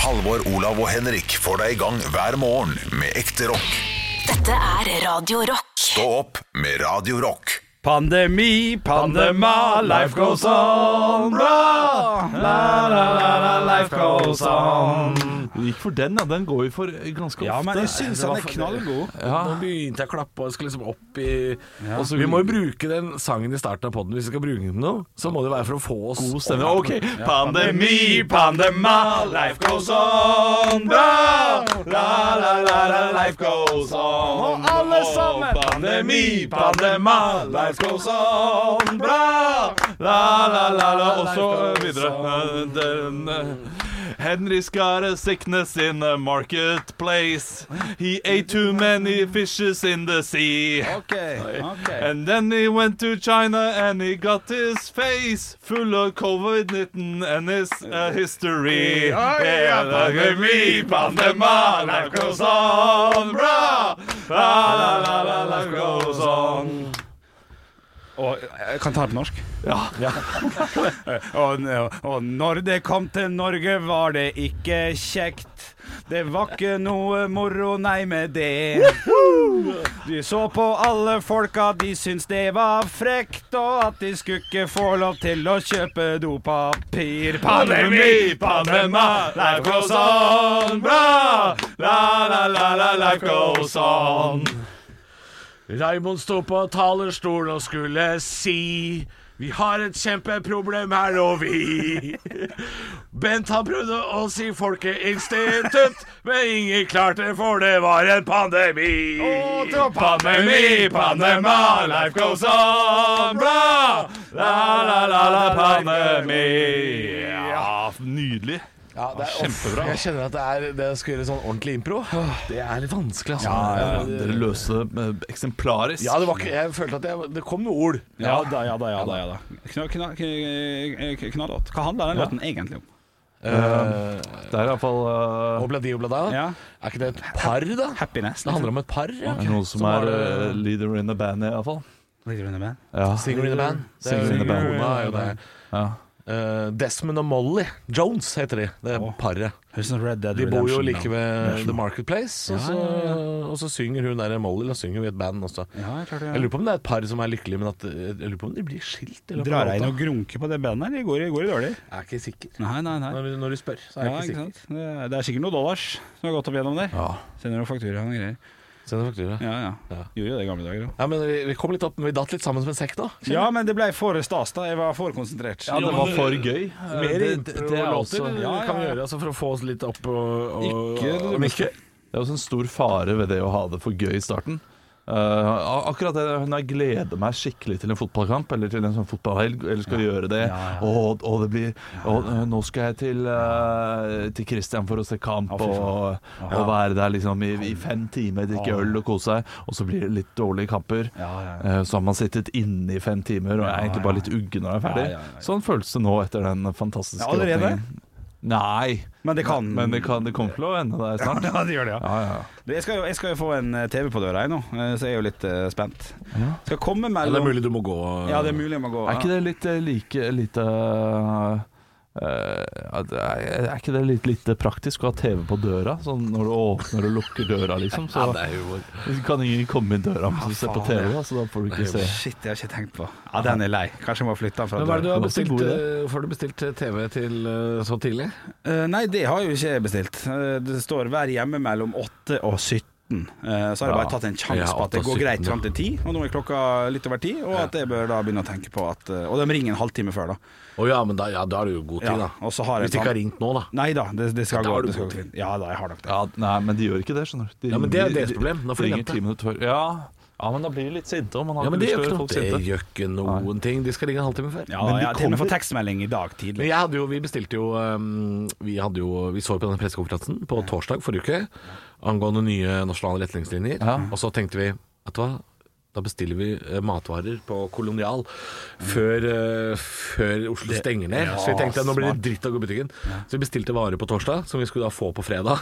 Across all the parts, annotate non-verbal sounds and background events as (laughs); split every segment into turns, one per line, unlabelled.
Halvor, Olav og Henrik får deg i gang hver morgen med ekte rock.
Dette er Radio Rock.
Stå opp med Radio Rock.
Pandemi, pandema, life goes on, bra! La, la, la, la, life goes on.
Du gikk for den, ja. Den går vi for ganske
Ja,
ofte.
men jeg
Det
syns
var
han er
for-
knallgod.
Ja. Nå begynte jeg å klappe og jeg skulle liksom opp i
Og så-
Vi må jo bruke den sangen i starten av poden hvis vi skal bruke den til noe. Så må det være for å få oss
God stemme.
opp.
Ok. Pandemi, pandema, life goes on, bra! La, la, la, la, life goes on.
Og alle sammen.
Pandemi, pandema, life goes on, sånn, bra! La, la, la, la, og så eh, videre. Den, eh, Henry's got a sickness in the marketplace. He ate too many fishes in the sea.
Ok, ok.
And then he went to China and he got his face full of COVID-19 and his uh, history. Yeah, look at me, pandema, life goes on, bra! La, la, la, la, life goes on.
Og jeg kan ta det på norsk? (laughs) og, og når det kom til Norge, var det ikke kjekt. Det var ikke noe moro, nei, med det. Du så på alle folka, de syntes det var frekt, og at de skulle ikke få lov til å kjøpe dopapir.
Pandemi, pandema, life goes on, bra! La, la, la, la, life goes on.
Raymond sto på talerstolen og skulle si Vi har et kjempeproblem her, og vi (laughs) Bent han prøvde å si folkeinstitutt, men ingen klarte, for det var en pandemi.
Pandemi, pandema, life goes on, bra! Ah, La, la, la, la, pandemi. Ja, nydelig.
Ja, det er,
Kjempebra.
Jeg kjenner at det er det å skulle gjøre sånn ordentlig impro, det er litt vanskelig, altså.
Dere løste det eh, eksemplarisk.
Ja, det var ikke Jeg følte at jeg, det kom noen ord.
Ja da, ja da, ja da. ja da Kna- kna- k- k- Knallhått. Hva handler den låten egentlig om?
Det er iallfall uh,
Obladi oblada.
Ja.
Er ikke det et par, da?
Happiness.
Det handler om et par, ja.
noen som
var
er
det-
eh, leader in the band, iallfall.
liksom. om
Ja.
Singer in a band. Det
Singer in
er
a band.
Kona er jo det.
Ja.
Eh, Desmond og Molly Jones heter de, det er paret.
Red Dead
De bor jo
Redemption,
like
da.
ved The Marketplace, og så, og så synger hun der Molly og synger jo i et band også.
Ja, jeg klarte
Jeg
det.
lurer på om det er et par som er lykkelige, men at, eh, jeg lurer på om de blir skilt. i løpet av
Drar jeg inn
låta.
og grunker på det bandet? eller Går, går det dårlig?
Jeg er ikke sikker.
Nei, nei, nei.
Når, når du spør, så er jeg
Ja,
ikke
ikke
sikker.
sant? Det er- det er sikkert noen dollars som har gått opp gjennom der. Sender noen fakturaer og noen greier.
Send en faktura.
Ja, ja.
Ja.
Gjorde jo det i gamle dager òg.
Ja, men vi, vi kom litt opp, men vi datt litt sammen som en sekk da.
Ja, men det ble for stas, da. Jeg var for konsentrert.
ja, det var for gøy.
Mer
det,
det,
det er også
låter
ja, ja.
kan vi gjøre altså, for å få oss litt opp og, og
Ikke-
men ikke
Det er også en stor fare ved det å ha det for gøy i starten. Eh, ak- akkurat det, Når jeg gleder meg skikkelig til en fotballkamp eller til en sånn fotballhelg, eller skal gjøre det Og, og det blir og, eh, Nå skal jeg til, eh, til Christian for å se kamp og, og være der liksom i, i fem timer, drikke øl og kose seg, og så blir det litt dårlige kamper.
Ja, ja, ja.
Eh, Så har man sittet inne i fem timer og er egentlig bare litt uggen når jeg er ferdig.
Ja, ja, ja.
Sånn føles det nå etter den fantastiske
Ja, allerede?
åpningen. Nei,
Men det kan
men det, kan, det kommer til å ende der snart.
(laughs) Ja, det gjør det, ja.
Ja, ja.
Du, Jeg skal jo, jeg skal jo få en eh, TV på døra, jeg nå, eh, så jeg er jo litt eh, spent.
Ja.
Skal komme
ja, Det er
mellom
mulig du må gå.
Ja, det er mulig jeg må gå.
Er ikke det litt eh, like lite eh, eh, er er ikke det litt lite praktisk å ha TV på døra? Sånn når du åpner og lukker døra, liksom. Så
er humor.
(laughs) kan ingen komme inn døra mens du ser på
faen,
TV, da, så da får du ikke se.
Shit, det har jeg ikke tenkt på. Ja, Den er lei. Kanskje jeg må flytte den fra
Men hva er det du
Det
har
døra.
var ikke en
bestilt?
god
eh, Får du bestilt eh, TV til eh, så tidlig?
Eh, nei, det har jo ikke jeg bestilt. Eh, det står 'vær hjemme mellom 8 og 17'. Eh, så har jeg
Ja.
bare tatt en
Ja,
sjanse på at det
8 og
går
17,
greit
ja.
fram til 10, og nå er klokka litt over 10, og at jeg bør da begynne å tenke på at eh, Og de ringer en halvtime før, da.
Å ja, men da, ja, da er det jo god tid,
Ja,
da.
og så har jeg
Hvis de ikke har ringt nå, da.
Nei da, det, det skal
Da
gå.
har du
Det skal
god
gå fint. Ja da, jeg har nok det.
Ja, nei, men de gjør ikke det, skjønner du. De
Ja, men det er jo
ringer-
deres problem. Da får de
ringer
vente.
ti minutter før. Ja. ja, men da blir de litt sinte. Og man har
Ja, men det
ikke
gjør
lyst til å
ikke noe.
folk
Det
sinte.
gjør ikke noen ting. De skal ringe en halvtime før.
Ja,
Men de
jeg har til og med
kommer-
fått tekstmelding i dag tidlig.
Men jeg hadde jo, vi bestilte jo ehm, Vi, hadde jo, vi så jo på denne pressekonferansen på torsdag forrige uke angående nye nasjonale retningslinjer. Og så tenkte vi Vet du hva? Da bestiller vi eh, matvarer på Kolonial før, eh, før Oslo stenger ned. så vi tenkte nå blir det dritt å gå i butikken. Så vi bestilte varer på torsdag, som vi skulle da få på fredag.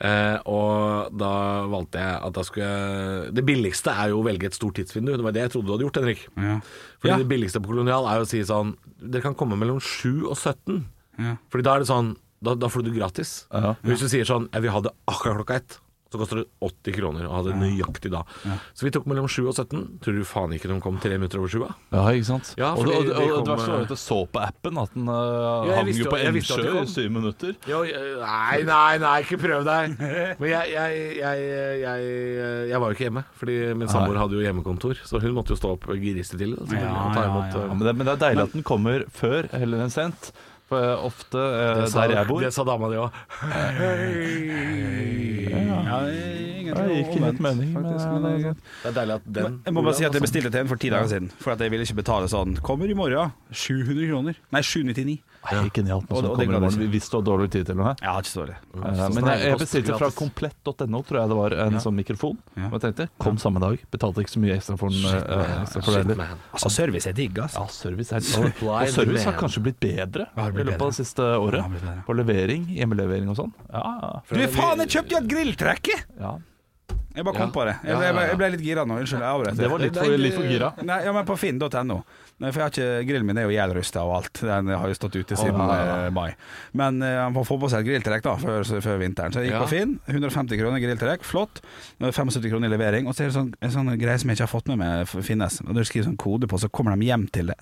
Eh, og da valgte jeg at da skulle jeg Det billigste er jo å velge et stort tidsvindu. Det var det jeg trodde du hadde gjort, Henrik.
Ja.
Fordi
Ja.
det billigste på kolonial er jo å si sånn Dere kan komme mellom 7 og 17
Ja.
Fordi da er det sånn Da, da får du det gratis.
Ja.
Men Hvis du sier sånn Jeg vil ha det akkurat klokka ett. Så koster det 80 kroner å ha det nøyaktig da. Så vi tok mellom 7 og 17. Tror du faen ikke de kom tre minutter over 7? da?
Ja, ikke sant?
Ja,
og,
fordi
og,
de
og, det
kom- eh,
verste var jo at jeg så på appen at den uh,
jeg
hang
visste
jo
jo-
på
jeg visste at de
Ensjø
kom.
i syv minutter.
Jo, jeg- nei, nei, nei, ikke prøv deg. (laughs) Men jeg, jeg, jeg, jeg, jeg var jo ikke hjemme, fordi min samboer hadde jo hjemmekontor. Så hun måtte jo stå opp grisete til. selvfølgelig,
Ja,
og ta
ja,
imot,
ja.
eh,
Ja, men, det, men det er deilig at den kommer før heller enn sent. For eh, ofte eh,
det sa-
der jeg bor
Det sa dama di òg.
Ja, det er egentlig
Det gikk i litt
omvendt,
mening, eh, men
faktisk,
ja,
men det er
det er
greit.
Det er deilig at den
Jeg må bare si at jeg bestilte til en for ti dager siden, for at jeg ville ikke betale sånn. Kommer i morgen. 700 kroner. Nei, 799.
Nei, Genialt når sånt
Og- og det
kommer i
gleder
morgen,
jeg
hvis du har dårlig tid til og med.
Jeg har ikke så dårlig.
Mm.
Eh, Men jeg, jeg bestilte fra
Gratis.
komplett.no, tror jeg det var, en sånn mikrofon.
Ja.
Og jeg tenkte, kom samme dag. Betalte ikke så mye ekstra for den. eh, ekstra for det
Shit,
heller.
man.
Altså, service er digg, altså.
Ja, service er
Supply
Og service har
demand.
kanskje blitt bedre
har
i
blitt
løpet
bedre.
av det siste året.
har blitt bedre.
På levering, hjemmelevering og sånn. Ja,
Du, faen, jeg kjøpte jo et grilltrekke!
ja.
Jeg bare kom
Ja.
på det. Jeg
Ja, ja,
ble, jeg ble,
ja.
jeg ble litt gira nå. Unnskyld, jeg avbrøt.
Det var litt for, litt for gira.
Nei, ja, men på finn.no. Nei, For jeg har ikke, Grillen min er jo gjeldrusta og alt. Den har jo stått ute siden eh, mai. Men eh, han får få på seg et grilltrekk da før, så- før vinteren. Så jeg gikk
Ja.
på Finn. 150 kroner grilltrekk, flott. Nå er det 75 kroner i levering. Og så er det sånn, en sånn greie som jeg ikke har fått med meg f- finnes. Og Du skriver sånn kode på, så kommer de hjem til det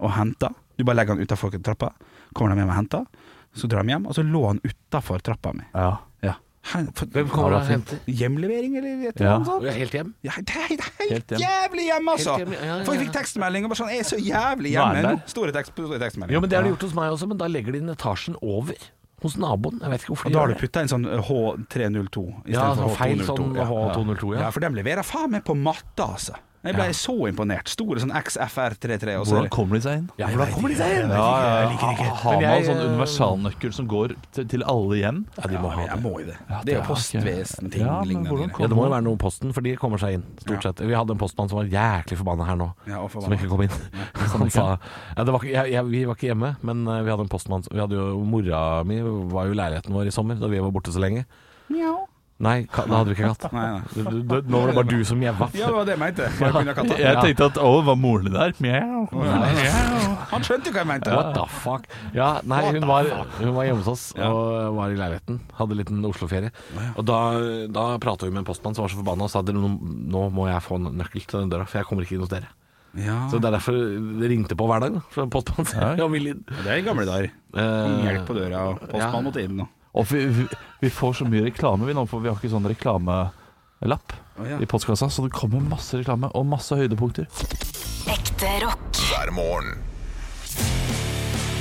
og henter. Du bare legger han utafor trappa, kommer de hjem og henter. Så drar de hjem, og så lå han utafor trappa mi.
Ja.
Ja. Hen- for-
Hvem kommer
Ja,
og
det er fint.
henter?
Hjemlevering, eller et
Ja.
eller annet sånt?
Og jeg er helt hjem?
Ja, det er det er helt
Helt hjem.
jævlig hjemme, altså!
Helt hjem, ja, ja, ja.
For jeg fikk tekstmelding og bare sånn Jeg er så jævlig
Nå er
hjemme
den
nå.
der.
Store, tekst, store tekstmeldinger.
Jo, men det har de gjort hos meg også, men da legger de den etasjen over. Hos naboen. Jeg vet ikke hvorfor
Og
de
da har
gjør
du
det.
putta inn sånn eh, H302 i stedet
Ja,
for
sånn feil sånn
ja.
H202, ja.
Ja, for de leverer faen meg på matta, altså. Jeg ble så imponert. Store sånn XFR33 og så
Hvordan kommer de seg inn?
Ja, hvordan kommer de seg inn?
Ja, ja, ja. Har
Men
man en
jeg,
sånn
eh,
universalnøkkel som går til, til alle hjem?
Ja, de må ha
Jeg
det.
må jo det. Det er jo
det er
postvesenting
ikke- Ja, men
lignende.
hvordan
greier.
Ja, det må jo være noe i posten, for de kommer seg inn, stort sett. Vi hadde en postmann som var jæklig forbanna her nå,
Ja, og
som
forbanna.
ikke kom inn. (laughs) Han sa ja, det var, ikke- jeg, jeg, Vi var ikke hjemme, men eh, vi hadde en postmann som- Vi hadde jo Mora mi var jo i leiligheten vår i sommer, da vi var borte så lenge. Nei, ka- da hadde vi ikke katt.
Nei, nei.
Du, du, du, nå var det bare du som gjev
Ja, det var det jeg
(laughs)
mente. Jeg kunne ha katta.
Jeg tenkte at å, var moren din der? Mjau.
Han skjønte jo hva jeg mente.
What the fuck? Ja, nei, hun var, hun var hjemme hos oss og var i leiligheten. Hadde en liten Oslo-ferie. Og da, da prata vi med en postmann som var så forbanna og sa at nå, nå må jeg få en nøkkel til den døra, for jeg kommer ikke inn hos dere.
Ja.
Så det er derfor det ringte på hver dag da, fra postmannen. Han ville inn.
Det er i gamle dager.
Eh,
Hjelp på døra, og postmann måtte inn og
Og vi, vi, vi får så mye reklame vi nå, for vi har ikke sånn reklamelapp
Å, ja.
i postkassa. Så det kommer masse reklame og masse høydepunkter.
Ekte rock.
hver morgen.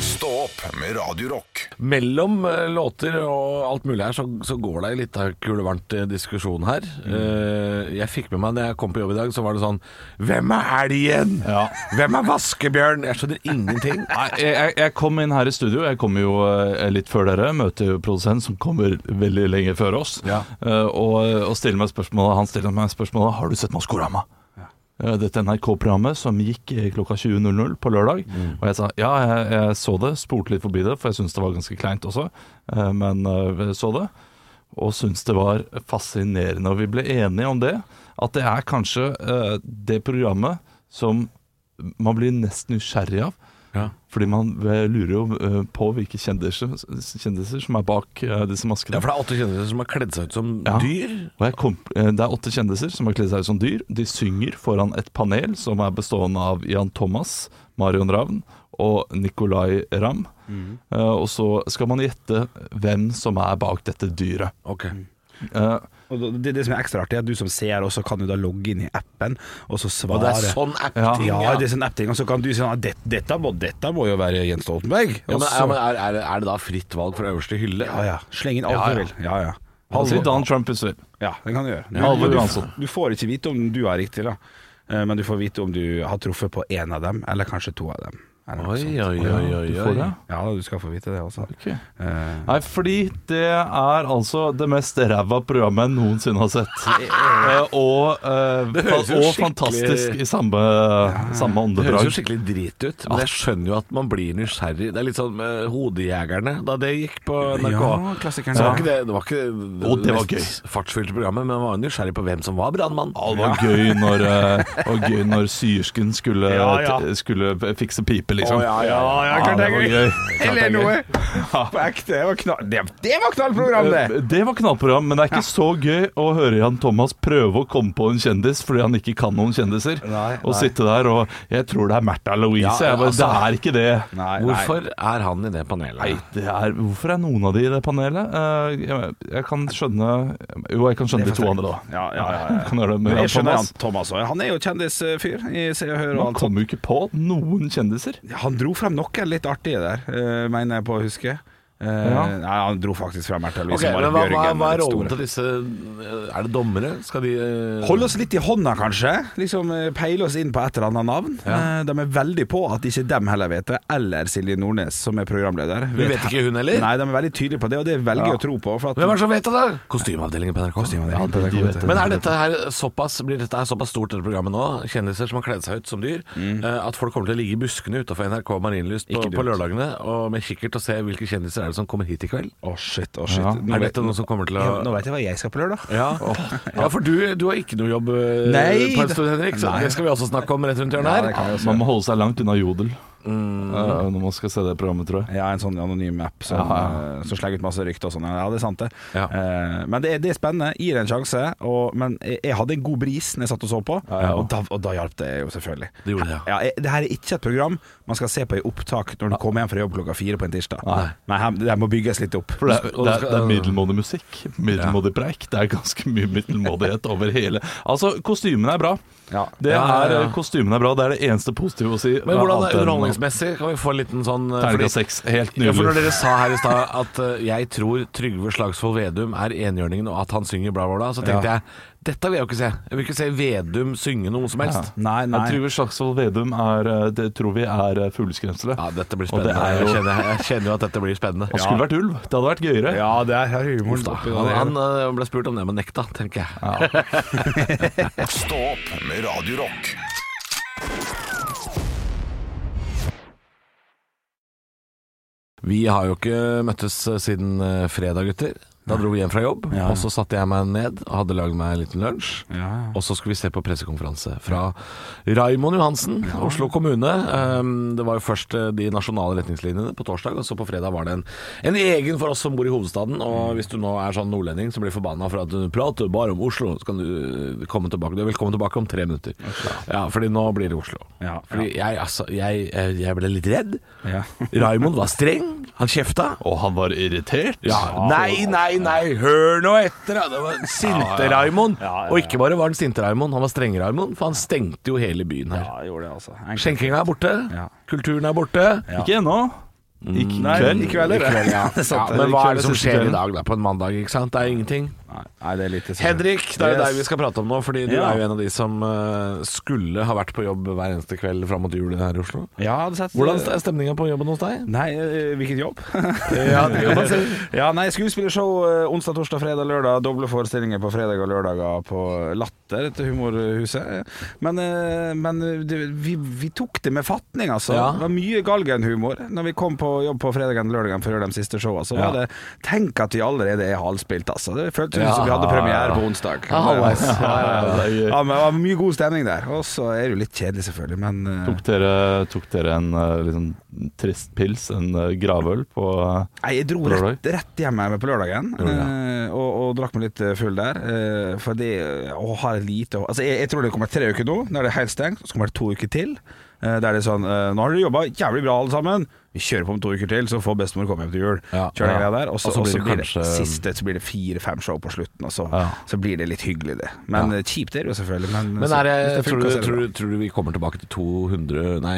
Stå opp med Radio Rock.
Mellom eh, låter og alt mulig her, så, så går det en liten kulevarmt eh, diskusjon her.
Mm.
Eh, jeg fikk med meg da jeg kom på jobb i dag, så var det sånn Hvem er elgen?
Ja.
Hvem er vaskebjørn? Jeg skjønner
(laughs)
ingenting.
Nei, jeg, jeg, jeg kom inn her i studio. Jeg kommer jo eh, litt før dere. Møter jo produsent som kommer veldig lenge før oss.
Ja.
Eh, og, og stiller meg spørsmålet Han stiller meg spørsmålet Har du sett Maskorama. Eh, Dette NRK-programmet som gikk eh, klokka 20.00 på lørdag. Og jeg sa ja, jeg, jeg så det. Spolte litt forbi det, for jeg syntes det var ganske kleint også. Eh, Men eh, så det. Og syntes det var fascinerende. Og vi ble enige om det. At det er kanskje eh, det programmet som man blir nesten nysgjerrig av. Fordi man eh, lurer jo eh, på hvilke kjendiser, kjendiser som er bak eh, disse maskene.
Ja, for det er åtte kjendiser som har kledd seg ut som
Ja.
dyr.
Og jeg kom, eh, det er åtte kjendiser som har kledd seg ut som dyr. De synger foran et panel som er bestående av Jan Thomas, Marion Ravn og Nicolay Ramm.
Mm.
Eh, Og så skal man gjette hvem som er bak dette dyret. Eh,
Og det, det som er ekstra artig, er at du som ser også kan jo da logge inn i appen, og så svare.
Og det er sånn app-ting,
ja, det er sånn app-ting. Og så kan du si at dette, dette, må, dette må jo være Jens Stoltenberg.
Ja,
Og
men,
så-
ja, men er, er, det- er det da fritt valg fra øverste hylle?
ja, ja. Sleng inn alt
Ja,
du
ja.
vil. Ja, ja.
altså,
Halvor-
Donald Trump hvis du vil.
Ja, det kan du gjøre. Du,
Halvor
du,
Johansson.
du får ikke vite om du er riktig, da. Eh, Men du får vite om du har truffet på én av dem, eller kanskje to av dem. Eller noe
Oi,
sånt.
oi,
Ja,
oi, oi,
du får
oi.
det.
Ja, da, du skal få vite det også.
Ok.
Eh,
Nei, fordi det er altså det mest ræva programmet jeg noensinne har
(laughs)
sett. Eh, og eh,
Det høres jo
og
skikkelig-
fantastisk i samme, samme
Det
åndedrag.
høres jo skikkelig drit ut, men jeg skjoner jo at man blir nysgjerrig. Det er litt sånn med Hodejegerne, da det gikk på NRK.
Ja, klassikeren.
Så det var ikke det, det, var ikke det,
Å, det var
mest fartsfylte programmet, men man var nysgjerrig på hvem som var brannmann.
(laughs)
Ja, det var gøy når, eh, det var gøy når syersken skulle,
Ja, ja.
skulle fikse pipe, liksom.
ja, ja, ja,
Ja,
klart det er
det
gøy.
var gøy.
Eller noe. (laughs) På ekte. Det var knall- Det det var knallprogram, det!
Eh, Det var knallprogram, men det er ikke så gøy å høre Jan Thomas prøve å komme på en kjendis fordi han ikke kan noen kjendiser.
Nei,
Og
nei.
sitte der og 'Jeg tror det er Märtha Louise'.
Ja,
jeg bare,
altså.
det er ikke det.
Nei, nei.
Hvorfor er han i det
Nei,
panelet?
det er, hvorfor er noen av de i det panelet? Eh, jeg, jeg kan skjønne Jo, jeg kan skjønne de to andre, da.
Ja, ja, ja, ja.
(laughs) Kan gjøre det med
Men
Jan
jeg skjønner han
Thomas.
Thomas òg. Han er jo kjendisfyr i Se og Hør og
Han
alt.
kommer jo ikke på noen kjendiser.
Ja, Han dro frem noen litt artige der, eh, mener jeg på å huske. Eh,
Ja.
Nei, han dro faktisk frem Märtha
Ok,
Louise.
men
Marit
hva, hva,
Bjørgen,
hva er
den
rollen
store.
til disse eh, Er det dommere? Skal de eh,
Holde oss litt i hånda, kanskje. Liksom eh, Peile oss inn på et eller annet navn. Eh, De er veldig på at ikke dem heller vet det, eller Silje Nordnes, som er programleder.
Vi vet ikke hun heller?
Nei, de er veldig tydelige på det, og det velger jeg å tro på. For at
Hvem er det som vet det? Kostymeavdelingen på NRK. Men er dette her såpass, blir dette her såpass stort, dette programmet nå, kjendiser som har kledd seg ut som dyr, eh, at folk kommer til å ligge i buskene utafor NRK Marienlyst på,
Mm. Ikke dumt.
på lørdagene og med kikkert og se hvilke kjendiser er det som kommer hit i kveld?
Å, shit, å, shit.
Ja.
Nå,
Er
vet,
dette noen som kommer til å
nå vet jeg hva jeg skal på lørdag.
ja. ja, for du, du har ikke noe jobb eh,
Nei,
på en
det-
stund, Henrik. Så
Nei.
det skal vi også snakke om rett rundt hjørnet her.
Man må holde seg langt unna Jodel
Mm.
eh, når man skal se det programmet, tror jeg.
Ja, en sånn anonym app som,
Ja.
eh, som slenger ut masse rykter og sånn. Ja, det er sant, det.
Ja.
Eh, men det er, det er spennende. Gir det en sjanse. Og, men jeg, jeg hadde en god bris når jeg satt og så på,
ja.
og da, og da hjalp det jo selvfølgelig.
Det gjorde det, ja.
Ja, jeg, det her er ikke et program man skal se på i opptak når du kommer hjem fra jobb klokka fire på en tirsdag.
Nei.
her, det her må bygges litt opp.
For det, er- det,
Og det
er,
skal-
det er middelmådig musikk, middelmådig preik. Det er ganske mye middelmådighet over hele Altså, kostymene er bra.
Ja.
Det
Ja, ja,
er, eh,
ja.
Kostymene er bra, det er det eneste positive å si.
Men hvordan er
Annet enn-
underholdningsmessig? Kan vi få en liten sånn eh, fordi-
Terningkast seks. Helt
Ja, for når
nydelig.
dere sa her i stad at eh, jeg tror Trygve Slagsvold Vedum er enhjørningen, og at han synger bla, bla, bla, så tenkte jeg dette vil jeg jo ikke se. Jeg vil ikke se Vedum synge noe som helst. Ja,
Nei, nei.
Jeg tror Slagsvold Vedum er eh, Det tror vi er eh, fugleskremselet.
dette blir
Og det
spennende.
er
Jeg,
jo-
kjenner, jeg kjenner jo at dette blir spennende.
Han skulle vært ulv. Det hadde vært gøyere.
Ja, det er her er humoren.
Uff da.
oppi
Han,
det.
han eh, ble spurt om det, men nekta, tenker jeg.
Stå opp med Radio Rock.
Vi har jo ikke møttes siden eh, fredag, gutter. Da dro vi hjem fra jobb,
Ja, ja.
og så satte jeg meg ned og hadde lagd meg en liten lunsj.
Ja, ja.
Og så skulle vi se på pressekonferanse fra Raimond Johansen, Oslo kommune. Um, det var jo først eh, de nasjonale retningslinjene på torsdag, og så på fredag var det en, en egen for oss som bor i hovedstaden. Og hvis du nå er sånn nordlending som blir forbanna for at du prater bare om Oslo, så kan du eh, komme tilbake. Du er velkommen tilbake om tre minutter. Ja, fordi nå blir det Oslo.
Ja,
Fordi jeg, altså, jeg, eh, jeg ble litt redd.
Ja. (laughs)
Raimond var streng, han kjefta.
Og han var irritert.
Ja, nei, nei, nei, hør nå etter! da. Det var sinte Raimond. Og ikke bare var han sinte Raimond, han var strenge Raimond, for han stengte jo hele byen her.
ja, jeg gjorde det, altså. En-
Skjenkinga er borte,
Ja.
kulturen er borte.
Ikke ennå.
Mm.
I kveld.
i kveld, eller?
Ja,
Det er sant,
men hva er
Kveld,
(laughs) det som
siste
skjer i
kvelden.
dag, da? På en mandag, ikke sant? Det er ingenting.
Nei, nei, det er litt det som-
Henrik, det er jo
Yes.
deg vi skal prate om nå, fordi du
Ja.
er jo en av de som eh, skulle ha vært på jobb hver eneste kveld fram mot jul her i Oslo.
Ja, det setter-
Hvordan er stemninga på jobben hos deg?
Nei, eh, hvilken jobb? (laughs)
Ja, det kan (laughs) man si.
ja, nei, skuespillershow eh, onsdag, torsdag, fredag, lørdag. Doble forestillinger på fredag og lørdager på Latter til Humorhuset. Men, eh, men det, vi, vi tok det med fatning, altså.
Ja.
Det var mye galgenhumor når vi kom på jobb på fredagen og lørdagen for å gjøre de siste showa. Så var det Tenk at vi allerede er halvspilt, altså. Det føltes ut som vi hadde premiere på onsdag.
Ja,
(laughs)
halvveis.
Ja, ja, det er gøy.
Ja, men det var mye god stemning der. Og så er det jo litt kjedelig, selvfølgelig, men eh,
Tok dere, tok dere en eh, litt sånn trist pils, en eh, gravøl, på eh,
Nei, jeg dro
Lørdag?
rett, rett hjem her på lørdagen eh, og, og drakk meg litt eh, full der. eh, For det å ha et lite Altså, jeg, jeg tror det kommer tre uker nå, når det er helt stengt. Så kommer det to uker til. eh, Der det er sånn eh, Nå har dere jobba jævlig bra, alle sammen. Vi kjører på om to uker til, så får bestemor komme hjem til jul.
Ja,
Kjører den
ja.
greia der Og så
Og så
og
blir
så
det
blir det
kanskje-
siste Så blir det fire-fem show på slutten, og så,
Ja.
så blir det litt hyggelig, det. Men eh, kjipt er det jo selvfølgelig. Men,
Men
så-
er det,
hvis det
tror,
funker,
du,
så er det
tror,
bra.
du, tror du vi kommer tilbake til 200 Nei,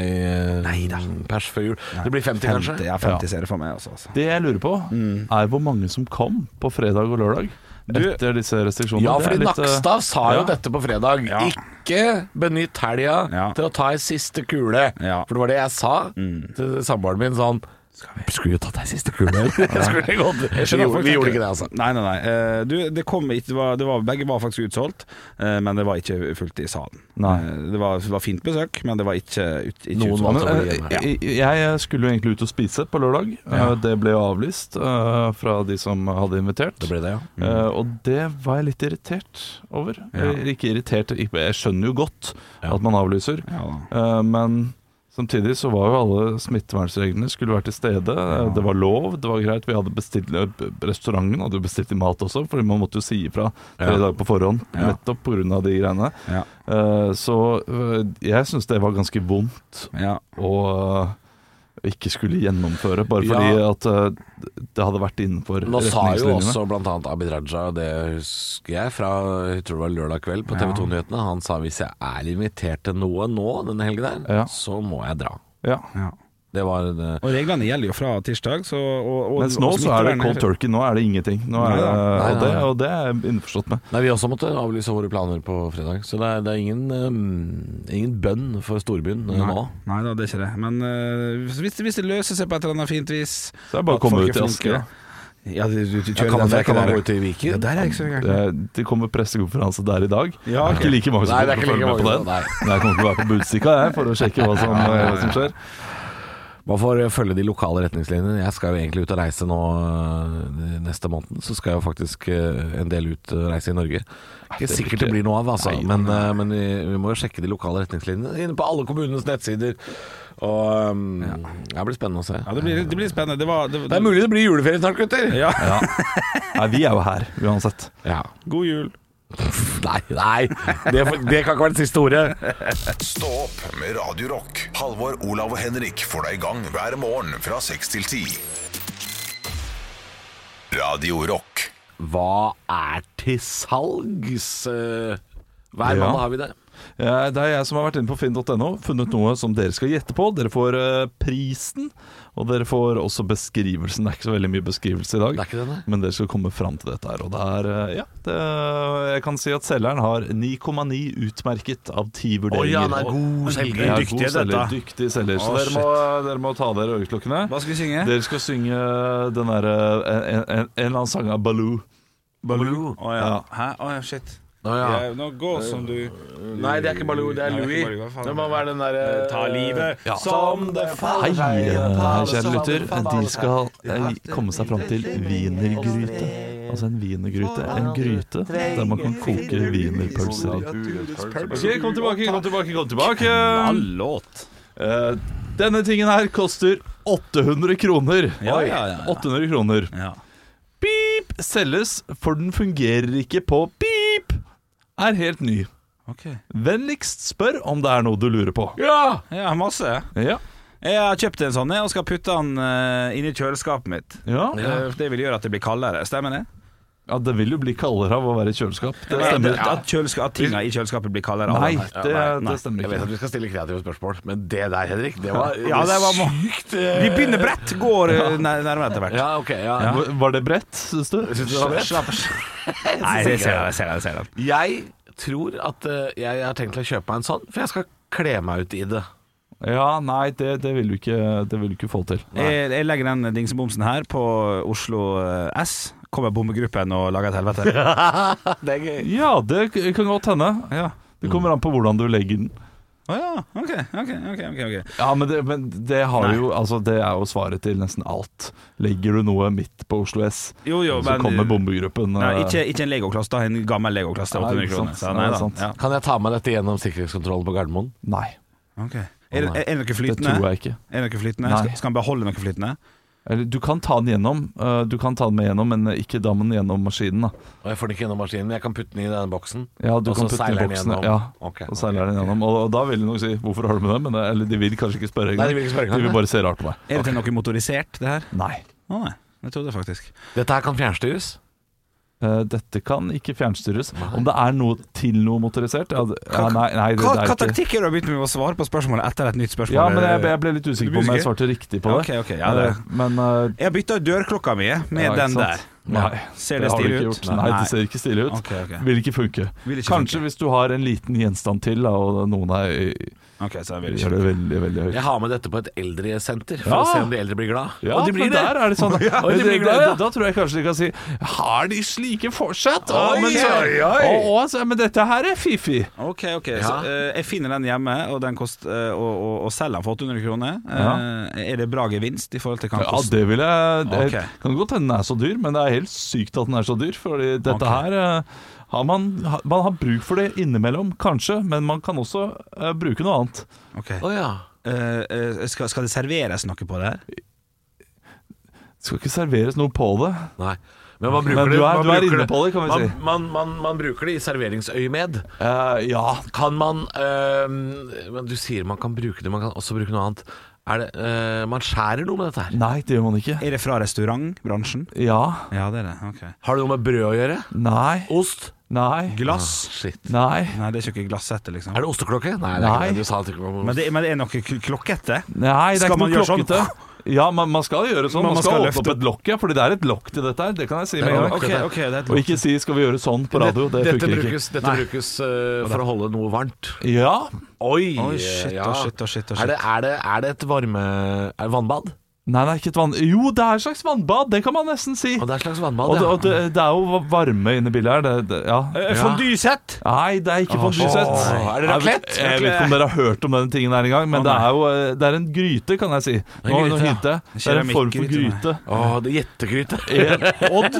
Neida.
pers før jul? Det blir 50, kanskje?
50, ja, 50 ser det for meg også. Altså.
Det jeg lurer på,
Mm.
er hvor mange som kom på fredag og lørdag etter disse restriksjonene.
Ja,
Det er
fordi
litt, eh,
Nakstad sa jo
ja.
dette på fredag.
Ja.
Ikke benytt helga
Ja.
til å ta ei siste kule.
Ja.
For det var det jeg sa til samboeren min sånn Skulle jo tatt ei siste (laughs) kule. eller? Jeg skulle gått. Vi, gjorde, vi gjorde ikke det, altså.
Nei, nei, nei. Eh, Du, det kom ikke det var, det var, Begge var faktisk utsolgt, eh, men det var ikke fullt i salen.
Nei.
Eh, Det var, det var fint besøk, men det var ikke, ut, ikke
Noen
utsolgt.
valgte å bli
Men,
hjemme.
eh, jeg, jeg skulle jo egentlig ut og spise på lørdag. Eh, Det ble jo avlyst eh, fra de som hadde invitert.
Det ble Mm. det, ja.
Eh, og det var jeg litt irritert over. Eh, Eller Ikke irritert, ikke- jeg skjønner jo godt at man avlyser,
Ja da.
eh, men så Samtidig så var jo alle smittevernreglene skulle være til stede. Eh, Det var lov, det var greit. Vi hadde bestilt eh, Restauranten hadde jo bestilt i mat også, fordi man måtte jo si ifra tre dager på forhånd.
Ja.
Nettopp pga. de greiene.
Ja.
Eh, Så eh, jeg syns det var ganske vondt
Ja.
å eh, ikke skulle gjennomføre, bare
Ja.
fordi at eh, det hadde vært innenfor
Nå sa jo
retningslinjene.
også blant annet Abid Raja, og det husker jeg fra jeg tror det var lørdag kveld på TV 2-nyhetene, han sa hvis jeg er invitert til noe nå denne helgen der,
Ja.
så må jeg dra.
Ja.
Ja.
Det var eh, det.
Og reglene gjelder jo fra tirsdag, så og, og,
Mens nå
og
så er det
smittevernet-
cold turkey, nå er det ingenting. Nå er
Nei
det,
da.
Nei,
og, det,
nei, nei.
og det er jeg innforstått med.
Nei, vi også måtte avlyse våre planer på fredag, så det er, det er ingen, eh, ingen bønn for storbyen eh,
Nei,
nå.
nei da, det er ikke det. Men eh, hvis, det- hvis det løser seg på et eller annet fint vis
Så det er bare å
at
komme
folk
ut i
er flinkere.
Asker,
Ja, du, du, du kjører
Kan man,
den der,
kan man
der.
gå ut i
Ja,
Viken?
der er jeg ikke så gæren.
Det, det kommer pressekonferanse der i dag.
Ja,
Det er ikke like mange som
Nei, det
kommer til å følge
er ikke like
med på den.
mange, nei.
Nei, Jeg kommer til å være på Budstikka jeg, for å sjekke hva som, eh, hva som skjer.
Man får eh, følge de lokale retningslinjene. Jeg skal jo egentlig ut og reise nå eh, neste måned. Så skal jeg jo faktisk eh, en del ut og reise i Norge. Ikke sikkert det blir noe av, altså.
Nei,
Men, eh, men vi, vi må jo sjekke de lokale retningslinjene inne på alle kommunenes nettsider. Og um, det blir spennende å se.
Ja, det blir, det blir spennende. Det var, det,
Det er mulig det blir juleferie snart, gutter!
Ja.
Nei, vi er jo her uansett.
Ja.
God jul.
Nei, nei! Det, det kan ikke være det siste ordet.
Stå opp med Radio Rock. Halvor, Olav og Henrik får deg i gang hver morgen fra 6 til 10. Radio Rock.
Hva er til salgs? Eh,
Ja.
Hver mandag har vi det.
Ja, Det er jeg som har vært inne på finn.no, funnet noe som dere skal gjette på. Dere får eh, prisen, og dere får også beskrivelsen. Det er ikke så veldig mye beskrivelse i dag,
Det er ikke det, nei.
men dere skal komme fram til dette her. Og det er eh, Ja, det, jeg kan si at selgeren har 9,9 utmerket av 10
Å
vurderinger.
ja, han er
Oh,
god selger.
Ja,
Dyktig,
god selger,
dette.
dyktig selger. Så
Å,
dere, må, dere må ta dere øyeklokkene.
Hva skal vi synge?
Dere skal synge den derre en, en, en eller annen sang av Baloo.
Baloo. Å ja.
Ja.
Hæ? Å ja, shit.
Å, ja.
Ja, nå gå som du
Nei, det er ikke Baloo, det er
Nei, det er
Louis.
ikke Baloo, hva faen Eh,
Det må være den derre
Ta livet
Ja.
som det
Hei,
faller
eh, kjære lytter. De skal eh, komme seg fram til wienergryte. Altså en wienergryte. En gryte der man kan koke wienerpølser i. Ok, kom tilbake, kom tilbake, kom tilbake.
låt.
Eh, Denne tingen her koster 800 kroner.
Ja, ja, ja, ja.
800 kroner.
Ja.
Pip selges, for den fungerer ikke på pip. Er helt ny.
OK.
Vennligst spør om det er noe du lurer på.
Ja!
Ja, masse.
Ja.
Jeg har kjøpt en sånn jeg, og skal putte den eh, inn i kjøleskapet mitt.
Ja,
Eh, Det vil gjøre at det blir kaldere. Stemmer det?
ja Det vil jo bli kaldere av å være i kjøleskap. Det stemmer.
At, at, kjøleska- at tinga i kjøleskapet blir kaldere. av
Nei,
den.
det, det stemmer
Jeg vet
ikke.
at vi skal stille kreative spørsmål, men det der, Henrik, det var,
Ja, det var må-
sykt eh,
Vi begynner bredt, går eh, nær- nærmere etter hvert.
Ja, ok. Ja.
Var- Var det bredt, syns du?
Synes du det var bredt?
Nei, det ser jeg, det ser jeg, det ser jeg.
Jeg tror at eh, jeg har tenkt å kjøpe meg en sånn, for jeg skal kle meg ut i det.
Ja, nei, det, det vil du ikke, det vil du ikke få til.
Jeg, jeg legger den dingsebomsen her på Oslo eh, S. Kommer bommegruppen og lager et helvete.
Det er gøy.
Ja, det k- kan godt hende.
Ja.
Det kommer an på hvordan du legger den.
Å ja, ok, ok, ok, ok, ok.
Ja, Men det, men det, har jo, altså, det er jo svaret til nesten alt. Legger du noe midt på Oslo S,
Jo, jo,
så
men-
kommer bombegruppen.
Nei,
eh,
ikke, ikke en legokloss, da. En gammel legokloss til
Nei,
800
ikke
kroner.
sant.
Så nei
Nei,
da.
sant.
Ja.
Kan jeg ta med dette gjennom sikkerhetskontrollen på Gardermoen?
Nei,
Ok. Er, det- er det noe
det
flytende?
tror jeg ikke.
Er det noe flytende?
Nei.
Skal, skal han beholde noe flytende?
Eller, du kan ta den gjennom, eh, du kan ta den med gjennom, men ikke da den gjennom maskinen. da
Og jeg får den ikke gjennom maskinen, men jeg kan putte den i denne boksen.
Ja, du
Og
kan putte
så
den i
seiler den
boksen.
gjennom.
Ja,
Ok,
og seiler den gjennom Og, og da vil de nok si 'hvorfor har du med det?' Men, eh, eller de vil kanskje ikke spørre
Nei,
engang.
de vil ikke spørre engang,
De vil
nei.
bare se rart på meg.
Er det til noe motorisert, det her?
Nei.
Å nei, det trodde jeg faktisk.
Dette her kan fjernstyres.
Eh, dette kan ikke fjernstyres. Om det er noe til noe motorisert? Ja, det- ja, nei, nei, det,
Hva,
det
hva
er ikke
taktikk er det å begynne med å svare på spørsmålet etter et nytt spørsmål?
Ja, men jeg, jeg ble litt usikker på om jeg
Du blir
svarte riktig på det.
Ok, ok, ja, det-
Eh, Men eh,
Jeg har bytta ut dørklokka mi med
ja, ikke
den
sant?
der.
Nei,
Ser
det
det
har du
stilig
ikke
ut?
gjort. Nei, det ser ikke stilig ut.
Ok, ok.
Vil ikke funke.
Vil ikke
Kanskje
funke.
hvis du har en liten gjenstand til, da, og noen er,
Ok, så jeg vil ikke
gjør det veldig, veldig høyt.
Jeg har med dette på et eldresenter for
Ja.
å se om de eldre blir glad.
Ja,
og de blir
men
det!
der er det (laughs) sånn
Og de blir glad,
da,
ja.
da tror jeg kanskje de kan si Har de slike fortsatt? Å,
Oi,
men, så,
oi, oi.
Å, å, så, men dette her er fiffig.
Ok, ok,
Ja.
så eh, jeg finner den hjemme, og, den kost, eh, og, og, og selger den for 800 kroner. Eh, er det bra gevinst i forhold til hva den
Ja,
koster?
det vil jeg det
Ok.
Kan godt hende den er så dyr, men det er helt sykt at den er så dyr. Fordi dette
Ok.
her eh, har man, ha- man har bruk for det innimellom, kanskje, men man kan også eh, bruke noe annet.
Ok.
Å ja.
eh, eh, skal, skal det serveres noe på det her?
Skal ikke serveres noe på det.
Nei. Men man bruker
Men du er-
det- man
du er
bruker
inne på det, kan vi
man,
si.
Man, man, man bruker det i serveringsøyemed.
Eh, ja.
Kan man øhm, Men Du sier man kan bruke det, man kan også bruke noe annet. Er det, øh, man skjærer noe med dette her.
Nei, det gjør man ikke.
Er det fra restaurantbransjen?
Ja.
Ja, det er det. ok
Har det noe med brød å gjøre?
Nei.
Ost?
Nei.
Glass?
Shit.
Nei.
Nei, det er ikke glassette, liksom.
Er det osteklokke? Nei,
Nei.
det er ikke det. Du sa at det ikke var
Men det, men det er noe kl- klokkete?
Nei, det er ikke
Skal man
noe
gjøre sånn?
klokkete. Ja, man, man skal gjøre sånn. Man,
Men man
skal,
skal
åpne opp
løfte.
et lokk, ja. Fordi det er et lokk til dette her. Det kan jeg si med en gang.
Ok, ok, det er et
Og
lokk.
ikke si 'skal vi gjøre sånn' på radio. Det
dette
funker ikke.
brukes, dette brukes øh, for å holde noe varmt.
Ja.
Oi!
Oi, shit,
ja.
å, shit, å, shit, å,
Er, det, er, det, er det et varme er det vannbad?
Nei, det er ikke et vann... Jo, det er et slags vannbad. Det kan man nesten si.
Og det er et slags vannbad,
Og det, og
ja.
det, det er jo varme inne i bildet her. Det, det, ja.
Eh, Fondysett!
Nei, det er ikke fondysett.
Åh, er det raclette?
Jeg, vet- jeg vet ikke om dere har hørt om den tingen her engang, men det er jo eh, det er en gryte, kan jeg si. Nå,
gryte,
nå
ja.
hinter jeg. Det er en form for
Keramikkgryte,
gryte.
Åh, det er gjettegryte.
Odd,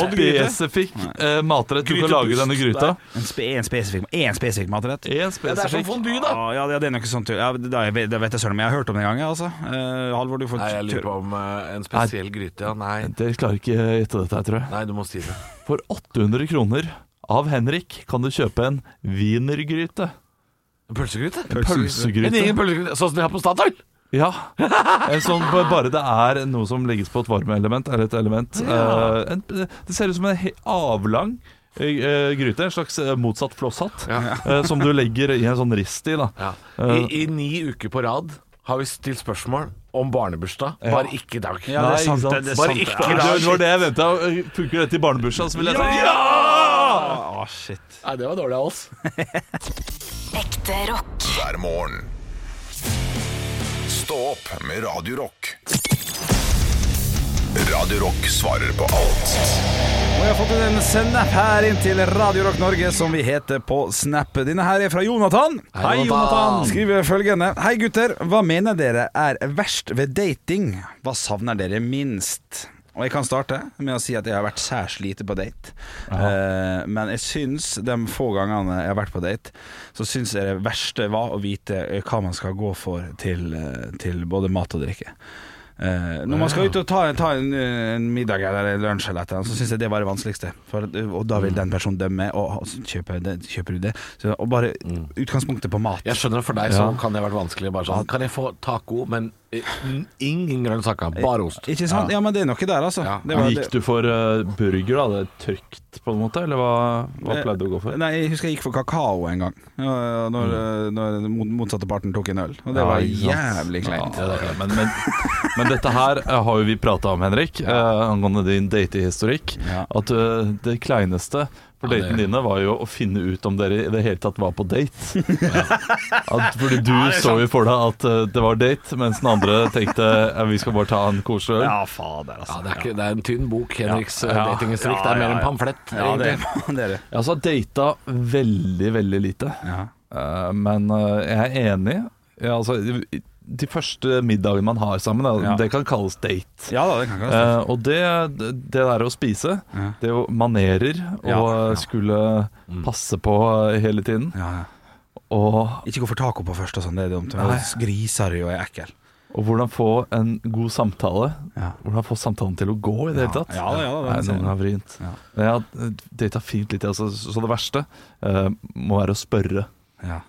spesifikk eh, matrett du kan lage i denne gryta.
En, spe, en spesifikk, en spesifikk matrett?
En spesifikk
fondy,
Ah, ja, det- ja, det er noe sånt. Ja, det, da- jeg vet- det vet jeg søren, men jeg har hørt om det en gang, jeg, altså. Eh, Halvor, du får
Nei, jeg lurer på om eh, en spesiell gryte, ja. Nei.
Dere klarer ikke å gjette dette, her, tror jeg.
Nei, du må si det.
For 800 kroner av Henrik kan du kjøpe en wienergryte.
Pølsegryte? En
Pølsegryte.
egen pølsegryte, sånn som de har på Statoil?
Ja. En sånn b- bare det er noe som legges på et varmeelement, eller et element. Eh, en, det ser ut som en he- avlang eh, gryte, en slags eh, motsatt flosshatt, eh, som du legger i en sånn rist i. da
Ja. I, I ni uker på rad har vi stilt spørsmål om barnebursdag, bare ikke i dag.
Ja, det er
Nei,
sant.
ikke sant.
Det, det er
Bare
sant.
ikke
ja.
da.
Det var det jeg venta. Funker dette i barnebursdag, så vil jeg si ja!
Ah, shit.
Nei, det var dårlig av oss.
Ekte rock.
hver morgen. Stå opp med Radio Rock. Radio Rock svarer på alt.
Og jeg har fått en snap her inn til Radio Rock Norge, som vi heter på Snap. Denne her er fra Jonathan.
Hei, Jonathan.
Skriver følgende. Hei, gutter. Hva mener dere er verst ved dating? Hva savner dere minst? Og jeg kan starte med å si at jeg har vært særs lite på date. Eh, men jeg syns de få gangene jeg har vært på date, så syns jeg det verste var å vite eh, hva man skal gå for til, eh, til både mat og drikke. Eh, når man skal ut og ta, ta en, eh, en middag eller en lunsj, eller et eller annet, så syns jeg det var det vanskeligste. For, at- eh, og da vil den personen dømme, og og så kjøper, jeg det, kjøper du det? Så, og bare utgangspunktet på mat.
Jeg skjønner at for deg så kan det ha vært vanskelig. Bare sånn, kan jeg få taco, men eh, n- ingen grønnsaker, bare ost?
Ikke sant? Ja, men det er noe der, altså.
Ja.
Det var,
Gikk du for eh, burger, da? Det er trygt, på en måte? Eller hva, hva
Eh,
pleide du å gå for?
Nei, jeg husker jeg gikk for kakao en gang, ja, når, eh, når den mot- motsatte parten tok en øl. Og det
Ja,
var
ikke sant.
jævlig kleint.
Ja, det er klart. men, men, men dette her eh, har jo vi prata om, Henrik, eh, angående din datehistorikk.
Ja.
At eh, det kleineste for
Ja, det-
datene dine var jo å finne ut om dere i det hele tatt var på
(laughs)
date. At, fordi du så jo for deg at eh, det var date, mens den andre tenkte eh, vi skal bare ta en koselig øl.
fader,
Ja, det, er ikke, det er en tynn bok, Henriks ja.
Ja.
datinghistorikk.
Ja,
Det er mer
ja,
en
ja.
pamflett.
Ja, det,
egentlig.
(laughs) det er det.
Jeg har altså data veldig, veldig lite.
Ja.
Eh, men eh, jeg er enig. Ja, altså, de første middagene man har sammen, da,
Ja.
det kan kalles date.
ja da, det kan ikke være
Eh, og det, det der å spise,
Ja.
det å manerer og eh,
Ja, ja.
skulle passe på hele tiden
ja, ja.
og,
Ikke gå for taco på først og sånn, det er dumt. Griser jo og er ekkel.
og hvordan få en god samtale.
Ja.
Hvordan få samtalen til å gå i det hele tatt.
Ja, ja, ja, det er
Nei,
det.
noen er vrient.
Ja.
Men Jeg har eh, data fint litt, altså, så det verste eh, må være å spørre.
Ja.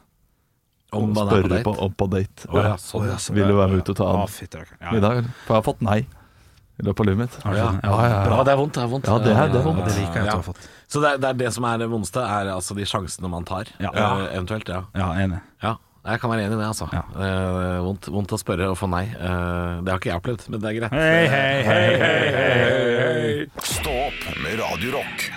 Om man er på
spørre
date.
på, om på date.
Å, ja, sånn, ja.
Vil du være med ut og ta en
Ja, fytti rakkeren. Ja, ja.
middag? eller? For jeg har fått nei i løpet av livet mitt.
Har du fått den?
Ja, ja, ja.
Ja, det er vondt. Det er vondt.
Ja, det er- det er vondt.
Ja, det liker jeg at du har fått.
Så det er, det er det som er det vondeste, er altså de sjansene man tar,
Ja.
eh, eventuelt. Ja.
Ja, enig.
ja. Jeg kan være enig i det, altså.
Ja.
Eh, vondt, vondt å spørre og få nei. Eh, det har ikke jeg opplevd, men det er greit.
Hei, hei, hei, hei,
Stå opp med Radio Rock.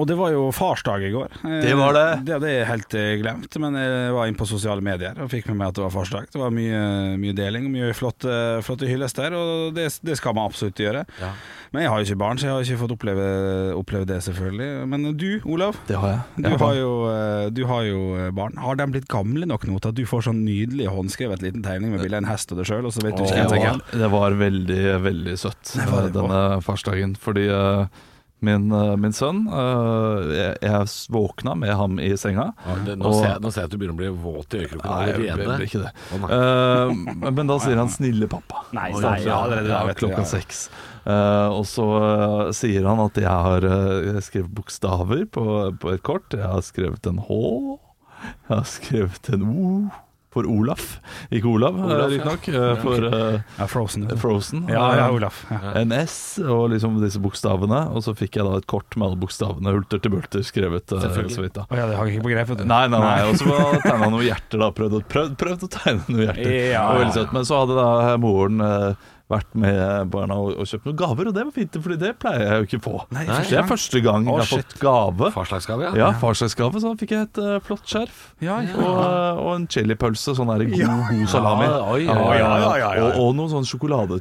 Og det var jo farsdag i går. Eh,
Det var det.
Det hadde jeg helt eh, glemt, men jeg var inne på sosiale medier og fikk med meg at det var farsdag. Det var mye, mye deling, mye flotte, flotte hyllester, og det, det skal man absolutt gjøre.
Ja.
Men jeg har jo ikke barn, så jeg har ikke fått oppleve, oppleve det, selvfølgelig. Men du, Olav?
Det har jeg.
Du
Jeg
har, jo, eh, du har jo eh, barn. Har de blitt gamle nok nå til at du får sånn nydelig håndskrevet liten tegning med bilde av en hest og deg sjøl, og så vet
Åh.
du ikke
Det
hvem som er
var, det var veldig, veldig søtt
Det var det
denne farsdagen. Fordi eh, min, eh, min sønn. Eh, jeg, jeg våkna med ham i senga.
Eh, Det, nå, ser jeg, nå ser jeg at du begynner å bli våt i øyekroken
Nei, jeg ble,
allerede.
ble ikke det.
Å, nei.
Eh, men da sier han 'snille pappa'.
Nei,
Og
nei,
jeg-
ja, allerede da,
ja,
vet du, ja,
klokka
ja.
seks. Eh, og så eh, sier han at jeg har eh, skrevet bokstaver på, på et kort. Jeg har skrevet en H. Jeg har skrevet en O for Olaf. Ikke Olav,
Olav,
Olav
ja.
riktignok, eh, for eh,
Ja, Frozen. vet du.
Frozen.
Ja, ja,
Eh,
Olaf. Ja.
en S og liksom disse bokstavene. Og så fikk jeg da et kort med alle bokstavene, hulter til bulter, skrevet eh, så vidt da.
Å ja, det hang ikke på greip, vet du.
Nei, nei, nei. Og så tegna han noen hjerter, da. Prøvd, å- prøvd, prøvd å tegne noen hjerter.
Ja.
Det var veldig søtt. Men så hadde da moren eh, vært med barna og, og kjøpt noen gaver, og det var fint, for det pleier jeg jo ikke å få.
Nei,
Så
første
det
gang.
er første gang jeg har fått gave.
Farslagsgave, ja.
Ja, farsdagsgave. Så da fikk jeg et eh, flott skjerf.
Ja,
Og, eh, og en chilipølse. Sånn der god, god salami.
Ja, oi, ja,
ja, ja, ja.
Og, og noen sånne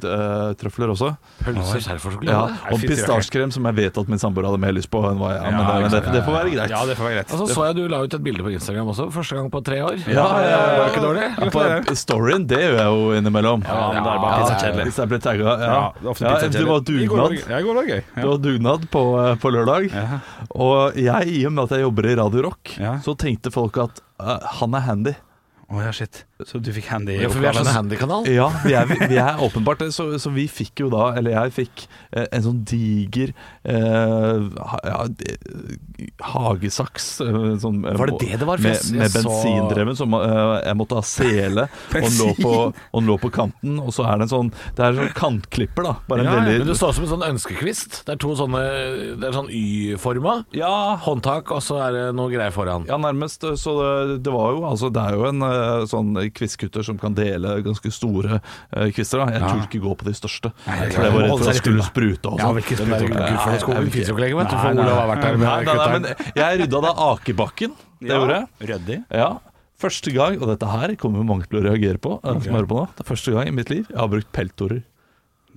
sjokoladetrøfler også.
Pølser, skjerf og
Ja,
sjokolade.
og pistasjekrem, som jeg vet at min samboer hadde mer lyst på enn hva jeg men, det, men det, det får være greit.
Ja, det får være greit.
Og Altså, så så jeg du la ut et bilde på Instagram også, første gang på tre år.
Ja, ja, ja.
Det var ikke dårlig.
Ja, på storyen, det gjør jeg jo innimellom.
Ja, men da er det bare
Ja,
pizzakjedelig.
Hvis jeg blir tagga. Ja.
Ja, det er ofte
Ja,
pizzakjedelig.
det var
I går var
dugnad.
det gøy. Ja, i går var det gøy.
Det var dugnad på, eh, på lørdag. Og jeg, i og med at jeg jobber i Radio Rock,
Ja.
så tenkte folk at eh, han er handy.
Å ja, shit. Så du fikk handy i
Ja, for vi er sånn
oppgaven.
handykanal.
Ja, vi er, vi er åpenbart det. Så, så vi fikk jo da, eller jeg fikk, eh, en sånn diger eh, ha, ja, de- hagesaks. eh, Sånn, eh,
Var det det det var? For
Med,
jeg- jeg
med
så-
bensindreven, som eh, jeg måtte ha sele. og den lå, på, og den lå på kanten, og så er det en sånn Det er en sånn kantklipper, da. Bare en
Ja, ja,
veldig
Men det står som en sånn ønskekvist. Det er to sånne Det er sånn Y-forma.
ja,
Håndtak, og så er det noe greier foran.
ja, nærmest. Så det, det var jo altså Det er jo en eh, sånn kvistkutter som kan dele ganske store eh, kvister. da Jeg torde ikke gå på de største. for jeg var redd for at det skulle sprute og
Ja,
sånn.
hvilken
Den der
sprut-
Gudfallenskogen fins jo ikke lenger, vet du.
Nei,
For
nei.
Olav har vært
Nei,
der med
nei, nei,
kutteren.
men jeg rydda da akebakken. Det gjorde jeg.
Ryddig.
Ja. Første gang, og dette her kommer mange til å reagere på, eh, som hører på nå. Det er første gang i mitt liv jeg har brukt peltorer.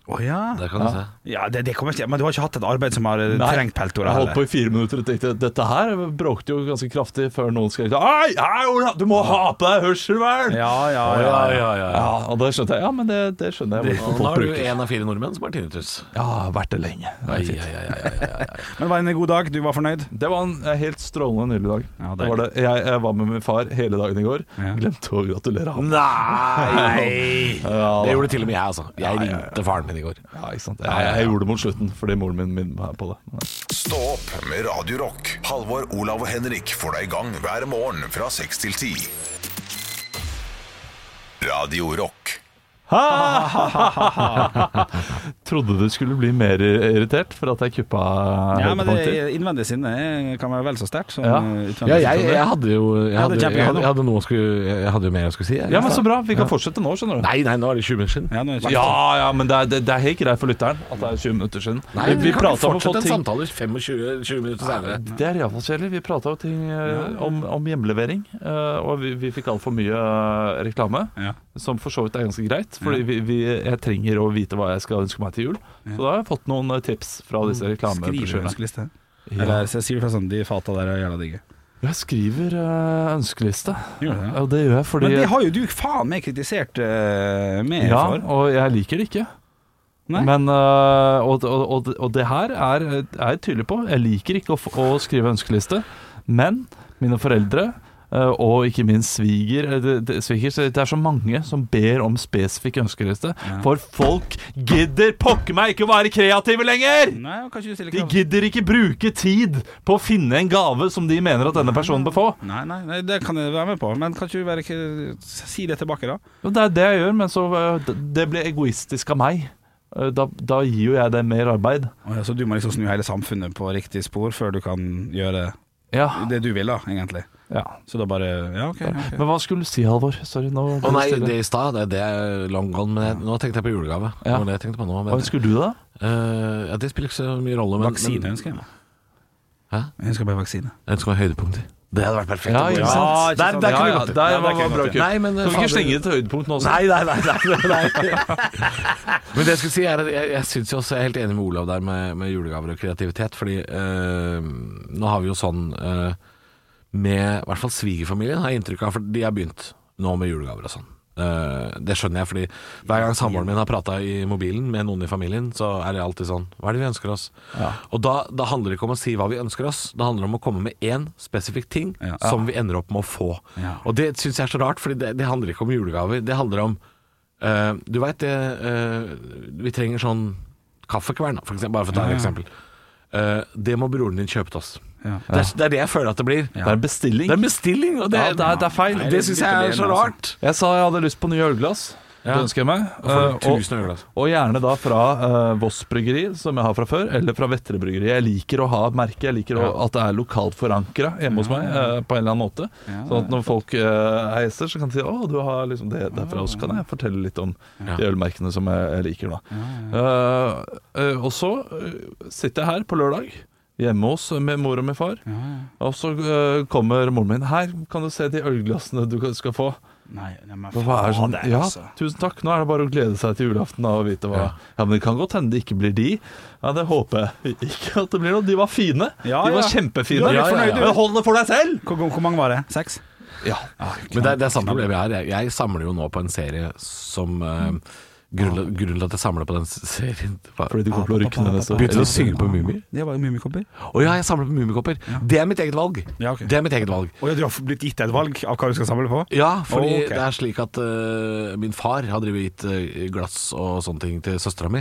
Å ja.
Der kan du se.
ja det, det kommer ikke Men du har ikke hatt et arbeid som har eh,
Nei,
trengt peltorer
Jeg holdt på
heller?
i fire minutter og tenkte dette her bråkte jo ganske kraftig før noen skrek Ei, ei, Ola, du må ha på deg hørselvern!
Ja, ja,
Å,
ja.
ja, ja, ja.
Ja, og da skjønte jeg Ja, men det, det skjønner jeg
Og
hvorfor
Nå
folk
er du
bruker.
en av fire nordmenn som har tinnitus.
Ja, vært det lenge. Det,
Ai,
er fint.
ai, ai, ai, ai, ai.
Men var det en god dag? Du var fornøyd?
det var en eh, helt strålende nydelig dag.
Ja,
det var det. Jeg, jeg var med min far hele dagen i går.
Ja.
Glemte å gratulere ham.
Nei!
Ja,
Det
da.
gjorde til og med jeg, altså. Jeg ringte faren min i går.
ja, ikke sant? Jeg, jeg gjorde det mot slutten fordi moren min minnet meg på det. Men,
Stå opp med Radio Rock. Halvor, Olav og Henrik får deg i gang hver morgen fra 6 til 10. Radio Rock.
Trodde du skulle bli mer irritert for at jeg kuppa
Ja, men det
høydepunkter?
innvendig sinne eh, kan være vel så sterkt som
Ja.
eh,
Ja,
utvendig.
jeg, jeg hadde jo jeg
Ja, det
hadde,
er
jeg
kjempegøy
hadde,
nå.
jeg hadde, noe jeg skulle, jeg hadde jo mer jeg skulle si. Jeg.
Ja, men så bra. Vi kan fortsette nå, skjønner du.
Nei, nei, nå er det 20 minutter siden.
Ja, nå er det
Ja, ja, men det er, det, det er helt greit for lytteren at det er 20 minutter siden.
Nei,
vi vi
kan
prata om å få
fortsette
ting
en samtale 25-20 minutter senere.
Det er iallfall kjedelig. Vi prata jo ting eh, om, om hjemlevering, eh, og vi, vi fikk altfor mye eh, reklame.
Ja.
Som for så vidt er ganske greit, for jeg trenger å vite hva jeg skal ønske meg til jul. Så da har jeg fått noen eh, tips fra disse
Skriv
reklameprosjektene.
ønskeliste.
Ja.
Eller så sier du fra sånn De fata der er jævla digge.
Jeg skriver eh, ønskeliste,
Gjør du det?
og det gjør jeg fordi
Men det har jo du faen meg kritisert eh, meg
ja,
for.
og jeg liker det ikke.
Nei.
Men, eh, og, og, og, og det her er er jeg tydelig på. Jeg liker ikke å, f- å skrive ønskeliste, men mine foreldre eh, og ikke minst sviger, eh, det, det, sviger så Det er så mange som ber om spesifikk ønskeliste. For folk gidder pokker meg ikke å være kreative lenger!
Nei, og kan ikke du stille
De
krav?
gidder ikke bruke tid på å finne en gave som de mener at denne personen bør få.
Nei, nei, nei, det kan jeg være med på, men kan ikke du være k- Si det tilbake, da.
Jo, Det er det jeg gjør, men så eh, d- Det blir egoistisk av meg. Eh, Da, da gir jo jeg det mer arbeid.
Å ja, Så du må liksom snu hele samfunnet på riktig spor før du kan gjøre
Ja.
det du vil, da, egentlig.
ja.
Så da bare Ja, OK. ok.
Men hva skulle du si, Halvor? Sorry, nå
Å nei, det i stad, det, det er long gone. Men jeg, nå tenkte jeg på julegave. Det
Ja.
var det jeg tenkte på nå.
Hva
Men,
skulle du, da?
Eh, ja, det spiller ikke så mye rolle. Men,
Vaksine
men,
ønsker jeg meg.
Hæ?
Jeg ønsker meg vaksine.
jeg ønsker meg høydepunkter. Det hadde vært perfekt. å bo i.
ikke sant?
Der, der kan vi
Ja,
gå
ja,
til.
der
Der
var-
var
var bra
bra
kutt.
kutt.
Nei, men
Skal vi ikke
fader-
slenge det til høydepunkt nå også?
Nei, nei, nei, nei, nei. Men det jeg skulle si er at jeg, jeg syns jo også jeg er helt enig med Olav der med, med julegaver og kreativitet. Fordi eh, nå har vi jo sånn eh, med i hvert fall svigerfamilien, har jeg inntrykk av, for de har begynt nå med julegaver og sånn. Eh, det skjønner jeg, fordi hver gang samboeren min har prata i mobilen med noen i familien, så er det alltid sånn Hva er det vi ønsker oss? Og da, da handler det ikke om å si hva vi ønsker oss, det handler om å komme med én spesifikk ting som vi ender opp med å få. Og det syns jeg er så rart, Fordi det, det handler ikke om julegaver. Det handler om eh, Du veit det eh, Vi trenger sånn kaffekvern, da, for eksempel, bare for å ta et eksempel. Eh, det må broren din kjøpe til oss. Det, er, det er det jeg føler at det blir.
Det er en bestilling.
Det er en bestilling, og det,
Ja, det er- det er feil.
Det syns jeg er så
altså.
rart.
Jeg sa jeg hadde lyst på nye ølglass. Det
Ja.
ønsker jeg meg.
får du
Eh,
tusen ølglass.
og gjerne da fra eh, Voss bryggeri, som jeg har fra før, eller fra Vettre bryggeri. Jeg liker å ha et merke, jeg liker å, at det er lokalt forankra hjemme hos meg eh, på en eller annen måte. Sånn at når folk eh, heiser, så kan de si å, du har liksom det derfra. Og så kan jeg fortelle litt om de ølmerkene som jeg, jeg liker, da. Eh, eh, og så eh, sitter jeg her på lørdag. Hjemme hos eh, med mor og med far. Og så eh, kommer moren min. 'Her kan du se de ølglassene du skal få.'
Nei, nei, men
Hva er det
faen,
sånn, ja,
altså.
tusen takk. Nå er det bare å glede seg til julaften da, og vite hva ja. men Det kan godt hende det ikke blir de. Ja, Det håper jeg ikke at det blir noe. De var fine.
Ja,
de var
ja.
kjempefine.
Du er litt fornøyd, du.
Men hold det for deg selv!
Hvor, hvor mange var det? Seks?
Ja.
Men det, er- det er samme problemet jeg har. Jeg, jeg samler jo nå på en serie som eh,
Mm.
grunnen, grunnen til at jeg samler på den s- serien var-
Fordi de kommer til å rykke ned neste år.
Begynte å synge på Mumier.
Det var jo Mummikopper.
Å ja, jeg samler på Mummikopper. Det er mitt eget valg.
Ja, ok.
Det er mitt eget valg.
Å ja, du har blitt gitt et valg av hva du skal samle på?
Ja, fordi
Å, ok.
det er slik at eh, min far har drevet gitt eh, glass og sånne ting til søstera mi.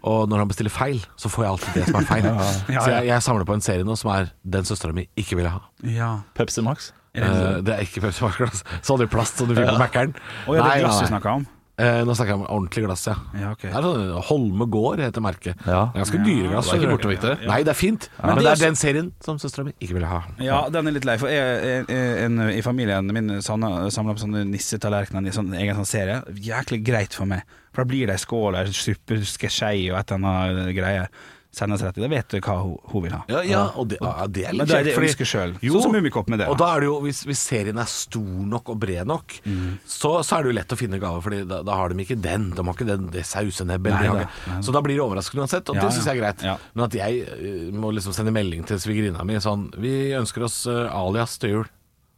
Og når han bestiller feil, så får jeg alltid det som er feil.
Mm. (laughs) Ja,
Så
ja.
jeg, jeg samler på en serie nå som er den søstera mi ikke ville ha.
Ja.
Pepsi Max.
Eh, det er ikke Pepsi Max-glass. Sånn i plast som du fikk på Mækkern.
Å ja, det er glass vi snakka om.
Eh, nå snakker jeg om ordentlig glass, ja.
Ja, ok.
Det er sånn Holme gård heter merket.
Ja.
Det er Ganske dyre glass.
det er ikke
skjønner du.
bortevekt, det.
Nei, det er fint. Men,
det
det
er
er den serien som søstera mi ikke ville ha.
Ja, den er litt lei. For jeg, jeg, en, I familien min samla på sånne nissetallerkener i sånn, egen sånn serie. Jæklig greit for meg. For da blir det skåler, suppe, skei og et eller annet greie. Sendes rett i. Da vet du hva hun, hun vil ha.
Ja, ja, og det, ja, det er
Men
litt
det er
kjekt,
det jeg
fordi-
ønsker selv.
Jo,
Sånn som Mummikopp med det,
Og
da.
da er det jo, hvis, hvis serien er stor nok og bred nok,
Mm.
så, så er det jo lett å finne gaver, Fordi da, da har de ikke den, de har ikke den, det sausenebbet. eller de har
da,
ikke- Så da blir det overraskende uansett, og
Ja,
det syns jeg er greit.
ja.
Men at jeg eh, må liksom sende melding til svigerinna mi sånn Vi ønsker oss eh, alias til jul.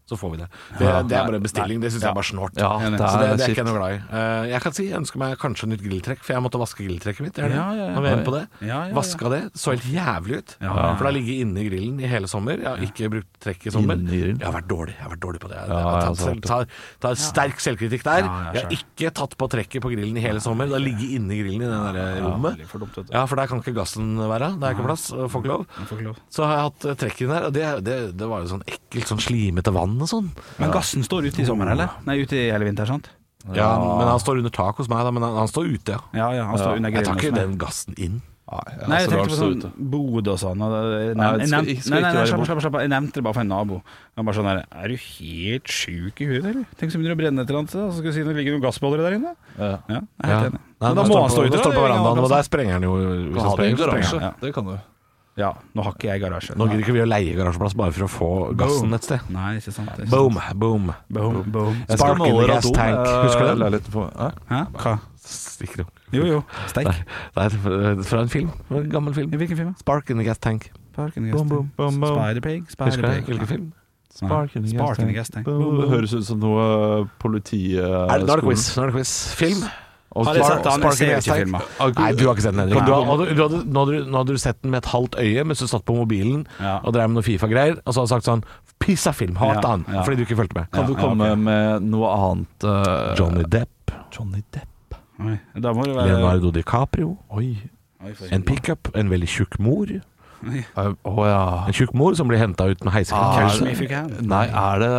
Så får vi det. Det, det er bare en bestilling. Det syns jeg er bare snålt.
Ja, det
så det,
er
det er
kjipt.
ikke jeg noe glad i. Eh, jeg kan si jeg ønsker meg kanskje nytt grilltrekk, for jeg måtte vaske grilltrekket mitt. Det er det.
Ja, ja, ja.
Nå er vi inne på det.
Ja, ja, ja.
Vaska det. Så helt jævlig ut. For det har ligget inne i grillen i hele sommer. Jeg har ikke brukt trekk i sommer.
Inne i grillen?
Jeg har vært dårlig Jeg har vært dårlig på det. Jeg,
Ja,
jeg har
jeg
tatt,
har
selv,
vært
tar, tar sterk selvkritikk der.
ja,
jeg har ikke tatt på trekket på grillen i hele sommer. Det har ligget inne i grillen i det der eh, rommet.
For dumt, vet du.
Ja, for der kan ikke gassen være. Det er ikke plass. og Får ikke lov.
Jeg får ikke lov.
Så har jeg hatt eh, trekk inn der, og det, det, det var jo sånn ekkelt, sånn slimete vann og sånn.
Men gassen står ute i sommer, eller? Nei, ute i hele vinteren, sant?
Ja, Men han står under tak hos meg, da. Men han, han står ute, ja.
Ja, ja, han står under
Jeg
grillen.
tar ikke
hos meg.
den gassen inn.
Nei,
Nei,
jeg
jeg
så
tenkte på
rart så ut.
sånn bod og sånn. Og det, jeg
Nei, det
nevnte,
skal-
jeg nevnte,
skal
nei,
ikke
nei, nei,
være
slapp,
bod.
slapp, slapp, jeg nevnte det bare for en nabo. Han bare sånn der Er du helt sjuk i huet, eller? Tenk så begynner det å brenne et eller annet, og så skal du si det ligger noen gassboller der inne.
Ja.
Ja, jeg er helt enig.
Nei,
Men da må han stå ute.
står på
da, ingen
verandaen,
annen
og der
plass.
sprenger han jo. Hvis
Ha
han
det i en
sprenger, så sprenger han.
garasje.
ja.
Det kan du.
Ja, nå har ikke jeg garasje.
Nå gidder ikke vi å leie garasjeplass bare for å få gassen et sted.
Nei, ikke sant. det er ikke sant.
Boom, boom.
Boom, boom.
Jeg skal måle radon, eh,
Husker du
leilighet.
leiligheten på Hæ?
Hæ? Hva?
Stikker opp.
Jo, jo.
Nei,
Steik.
det er fra en film. En gammel film.
I hvilken film? da?
Spark in the gas tank.
Spark in the
Boom,
gas
boom,
tank.
boom, boom.
Spiderpig.
Husker du
Spiderpig.
hvilken film?
Spark in the gas
Spark in the
tank.
gas tank.
Det høres ut som noe eh, politi... eh,
Er det, nå er det
skolen.
quiz. Nå er det quiz. Film?
Og
Har dere
Spark-
sett den?
Spark-
Jeg ser
i
ikke
gas tank.
filma.
Nei, du har ikke sett den, Henrik.
Nei.
Du, hadde, du, hadde, nå, hadde, du- nå hadde du sett den med et halvt øye mens du satt på mobilen
Ja.
og drev med noe Fifa-greier, og så hadde du sagt sånn Piss av film! Hat
Ja,
han!
ja.
Fordi du ikke fulgte med.
Kan du komme med noe annet eh,
Johnny Depp.
Johnny Depp.
Oi, Da må det være
Leonardo DiCaprio.
Oi.
Eh. Oi, for-
En pickup. En veldig tjukk mor.
Å ja.
En tjukk mor som blir henta ut med heisekranen.
Catch me if you can.
Nei, er det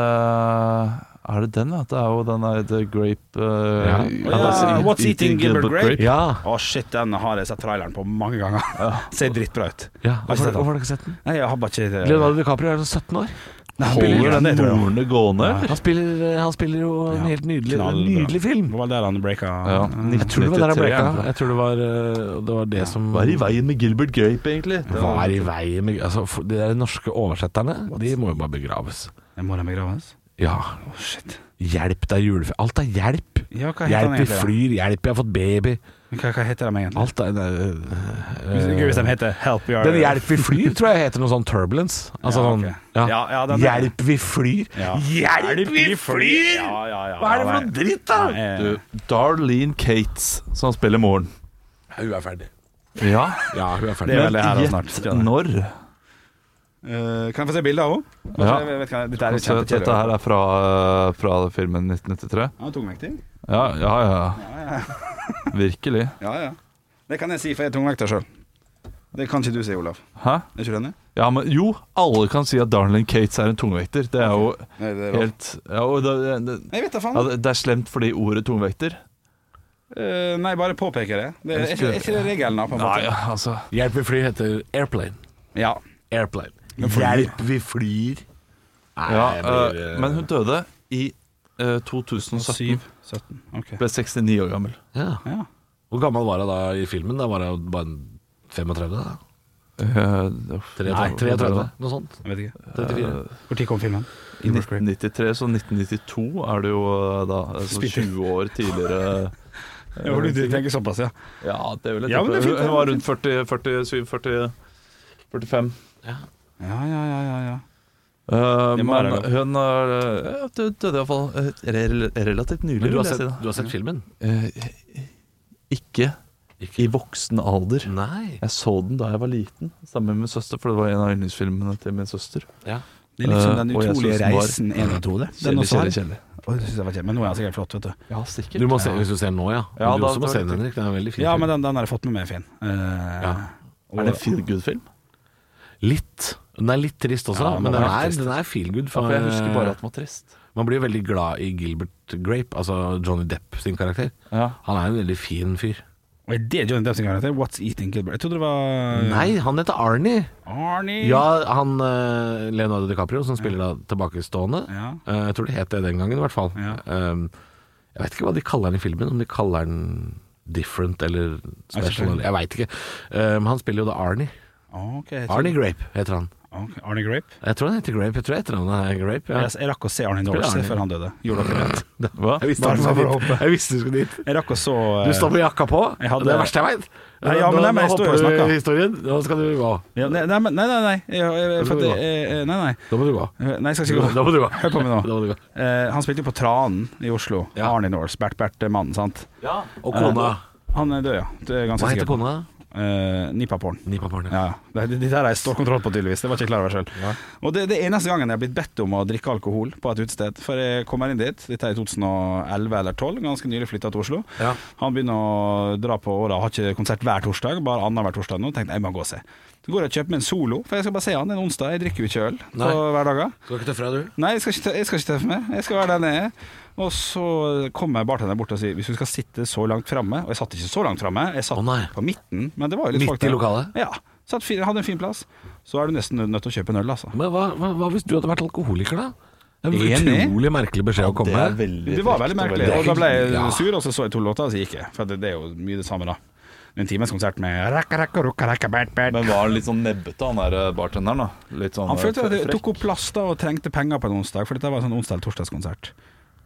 Er det den, ja? Det er jo den der The Grape eh,
Ja.
Å
ja, What's Eating Gilbert Grape?
Ja.
(laughs) Å shit, den har jeg sett traileren på mange ganger. (laughs) Ser dritbra ut.
ja.
Har ikke
Hvorfor
sett
hvorfor
den. Eh.
har du ikke sett den?
Nei, jeg har bare ikke det.
Leonardo DiCaprio er sånn 17 år.
Holder
Ja, det
den
tror jeg.
morene gående?
Han spiller, eh, han spiller jo en helt nydelig,
knallbra.
nydelig film.
Det var der han breaka
Ja.
Jeg tror det var der han
1993,
breaka.
egentlig.
Jeg tror det var eh, det, var det som
Hva er i veien med Gilbert Grape, egentlig? Det
Hva er i veien med altså, for De der norske oversetterne, de må jo bare begraves.
Jeg må da begraves.
Ja.
altså. Å, shit.
Hjelp, det er julefilm. Alt er hjelp.
Ja, hva heter han
Hjelp, vi
egentlig?
flyr. Hjelp, jeg har fått baby.
Hva, hva heter de egentlig?
Alt er
Hvis,
uh,
Gud, hvis de heter Help Your
Den hjelp vi flyr, tror jeg heter noe sånn turbulence. Altså
Ja,
sånn
ok. Ja, ja, den er-
Hjelp vi flyr!
Ja.
Hjelp vi flyr!
Ja, ja, ja,
Hva er det for
ja,
noe dritt, da?
nei, eh,
Du, Darlene Cates, som spiller moren.
Hun er ferdig.
Ja,
Ja, hun er
Det
ferdig.
er vel det her da,
gjett
snart.
Når?
eh, kan jeg få se bildet av henne?
Ja.
Jeg vet ikke, Dette er
Så
kjempekjedelig.
Altså, Dette her er fra, fra filmen 1993.
Ja, tungvektig.
Ja, ja, ja. Virkelig.
Ja, ja. Det kan jeg si, for jeg er tungvekter sjøl. Det kan ikke du si, Olav.
Hæ?
Er ikke du enig?
Ja, men jo, alle kan si at Darlene Cates er en tungvekter. Det er jo
Nei, det er rart.
helt ja, og det, det,
Jeg vet da
ja,
faen.
det- det er slemt fordi ordet tungvekter.
Eh, nei, bare påpeker det. det er, er ikke- er ikke det regelen, da, på en
Nei,
måte?
ja, altså
Hjelp vi flyr heter airplane.
Ja.
Airplane.
flyr.
Hjelp vi flyr. Nei,
ja,
jeg blir,
øh,
eh,
eh,
Men hun døde i eh, 2017.
17. Ok.
Ble 69 år gammel.
ja.
Ja.
Hvor gammel var hun da i filmen? Da var hun bare 35? da
Eh, uff,
33,
nei,
noe sånt?
Jeg vet ikke.
34.
Når kom filmen?
I 1993, så 1992 er det jo eh, da eh, sånn
Spitter.
20 år
(laughs)
tidligere.
Ja, for du, du tenker såpass, ja.
Ja, det vil jeg
Ja, men det
tippe.
er fint, det
Hun
er
var rundt 40, 47, 40, 45.
Ja, ja, ja, ja, ja.
Eh,
Det må
men
være lov.
hun er, eh, ja, dø- døde iallfall eh, relativt nylig,
Men du
vil
har,
jeg
sett,
si.
du
da
har sett filmen?
Eh, Ikke i voksen alder.
Nei.
Jeg så den da jeg var liten, sammen med min søster, for det var en av yndlingsfilmene til min søster.
Ja.
Det er liksom den
Eh, og jeg
utrolige
synes den var-
reisen 1 og 2, det. Den
Kjedelig,
også
kjedelig,
her.
kjedelig.
Oi, det synes jeg var kjedelig, Men nå er den sikkert flott, vet du.
Ja, sikkert.
Du må se, hvis du ser den nå, ja. Men
Ja,
du
da-
også må
da-
se den, Henrik. Den er en veldig fin.
Ja,
film.
men den, den har jeg fått med meg, fin. Eh,
Ja.
Er det en feel good-film?
Litt. Den er litt trist også,
Ja, den
men den
er
er,
trist.
den er feel good.
Ja,
For,
for jeg husker bare at den var trist.
Man blir jo veldig glad i Gilbert Grape, altså Johnny Depp sin karakter.
Ja.
Han er en veldig fin fyr.
Og er det Johnny Depp sin karakter? What's Eating Gilbert? Jeg trodde det var eh,
Nei, han heter Arnie.
Arnie.
Ja, han eh, Leonardo DiCaprio, som spiller da tilbakestående.
Ja.
Eh, jeg tror det het det den gangen, i hvert fall.
Ja.
Eh, jeg vet ikke hva de kaller den i filmen, om de kaller den different eller special. eller- Jeg veit ikke. Eh, Men han spiller jo da Arnie.
Ok, jeg tror-
Arnie Grape heter han.
Ok, Arnie Grape?
Jeg tror han heter Grape. Jeg tror etternavnet er Grape. Ja.
Jeg, jeg rakk å se Arnie
Spiller
Norse
Arnie.
før han døde. Gjorde dere det?
Hva?
Jeg visste, han
Bare
skulle
for å
dit.
(laughs) hoppe.
jeg visste du skulle dit.
Jeg rakk å så eh,
Du står med jakka på.
Jeg hadde-
Det er det verste jeg veit.
Nei, ja,
Nå-
men nei, men
nå
jeg står jo og
hopper du
snakker.
i historien. Nå skal du gå.
ja, nei, nei, men- nei, nei, nei. Jeg, jeg, jeg, for at jeg- jeg- jeg- nei, nei.
Da må du gå.
Nei, jeg skal ikke
Da
gå.
må du gå.
Hør på meg nå.
Da må du gå.
Eh, han spilte jo på Tranen i Oslo.
Ja.
Arnie Norse. Bert Bert, eh, mannen, sant?
Og kona.
Han er død, ja. Det er jeg ganske
Hva heter
sikker på.
kona?
Eh, Nipaporn.
Nipaporn.
Ja, ja. Det, det der har jeg stålkontroll på, tydeligvis. Det var ikke jeg klar over selv. Og det, det er eneste gangen jeg har blitt bedt om å drikke alkohol på et utested. For jeg kommer inn dit, dette er i 2011 eller 2012, ganske nylig flytta til Oslo.
Ja.
Han begynner å dra på åra, har ikke konsert hver torsdag, bare annenhver torsdag nå. Tenkte jeg må gå og se. Så går jeg og kjøper meg en solo, for jeg skal bare se han en onsdag. Jeg drikker jo ikke øl på
Nei.
hverdager.
Skal ikke tøffe deg, du.
Nei, jeg skal ikke, tø- jeg skal ikke tøffe meg. Jeg skal være der nede. Og så kommer bartenderen bort og sier hvis du skal sitte så langt framme Og jeg satt ikke så langt framme, jeg satt
Å, nei.
på midten. Men det var jo litt
Midt
folk
i
der.
lokalet?
Ja. Satt fin, hadde en fin plass. Så er du nesten nødt til å kjøpe en øl, altså.
Men hva, hva, hva hvis du hadde vært alkoholiker, da? Det er en
Enig.
utrolig merkelig beskjed å komme med.
veldig
Det var veldig merkelig.
veldig-
Og da ble jeg
Ja.
sur, og så så jeg to låter, og så gikk jeg. For det, det er jo mye det samme, da. En times konsert med rakka, rakka, rukka, rakka, bært, bært.
Men var han litt sånn nebbete, han der eh, bartenderen? da? Litt sånn
Han følte at
eh,
det tok opp plass da og trengte penger på en onsdag, for dette var en sånn onsdag- eller torsdagskonsert.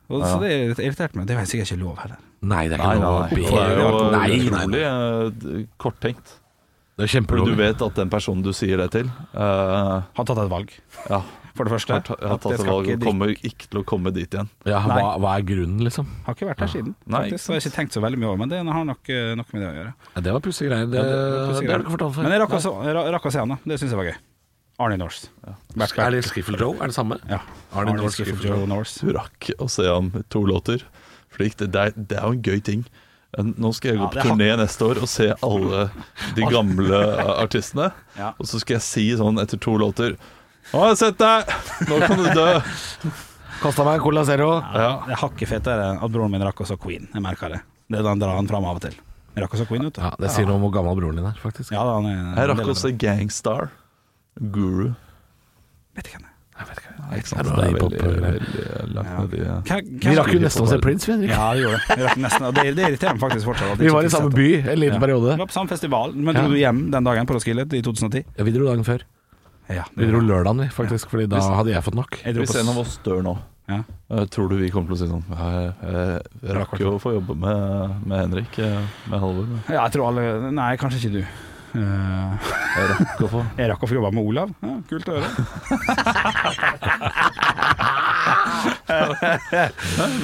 Og, Så det irriterte meg. Det var sikkert ikke lov heller.
Nei, det er
Nei,
ikke noe å
nei,
be
nei. Det er jo
om. Nei, nei,
utrolig
nei.
eh, d- korttenkt.
Det er
Fordi du
kjempelovlig.
vet at den personen du sier det til, eh,
Har tatt et valg,
ja,
for det første.
har, ta- har
At
tatt
jeg
et
skal
valg
ikke
og
drikke-
kommer ikke til å komme dit igjen.
Ja, hva, hva er grunnen, liksom?
Har ikke vært her siden.
Nei, ikke
faktisk, så jeg har ikke tenkt så veldig mye over Men det har nok eh, noe med det å gjøre.
Ja, det var pussige greier. Det,
pussige
Eh, det har du ikke fortalt før.
Men jeg rakk å se- jeg ra- rakk å se han, da. Det syns jeg var gøy. Arnie Norse. Bert
Er
Bert.
det Skiffle Joe? Er det samme?
Ja.
Arnie
Arnie
Norse,
Skiffle
Skiffle
Joe Norse.
Du rakk å se ham i to låter. Fordi det, det, er, det er jo en gøy ting. Eh, Nå skal jeg gå
Ja,
på
det er
turné neste år og se alle de gamle eh, artistene.
Ja.
Og så skal jeg si sånn etter to låter Nå har jeg sett deg! Nå kan du dø!
Kosta meg en Cola Zero.
Ja.
Det er hakket fetere at broren min rakk å se Queen. Jeg merker det. Det er den drar han fram av og til. Jeg rakk å se Queen, vet du.
Ja, det sier noe om hvor gammel broren din er, faktisk.
Ja, da, han er,
Jeg rakk å se Gangstar. Guru.
Vet ikke hvem det er.
Nei, ikke sant?
Det er bra
Det er
hiphop,
veldig,
eller?
veldig langt ned i eh,
Hvem-
Vi
hvem-
rakk jo nesten å se Prince, vi, Henrik.
Ja, vi gjorde det. Vi rakk nesten, og det, det irriterer meg faktisk fortsatt. at jeg
Vi
ikke
var i
fikk
samme
sett
by
det.
en liten periode.
Vi var på samme festival, men dro
Ja.
du hjem den dagen på Roskilde i 2010?
Ja, vi dro dagen før.
Ja,
Vi dro lørdagen, vi, faktisk. Fordi da hadde jeg fått nok.
Jeg dro på
Hvis en av oss dør nå
Ja.
Eh, tror du vi kommer til å si sånn Jeg, jeg, jeg rakk jo å få jobbe med, med Henrik, eh, med Halvor. men
Ja, jeg tror alle Nei, kanskje ikke du. Eh,
Jeg rakk å få
jeg rakk å få jobba med Olav. Ja, kult å høre.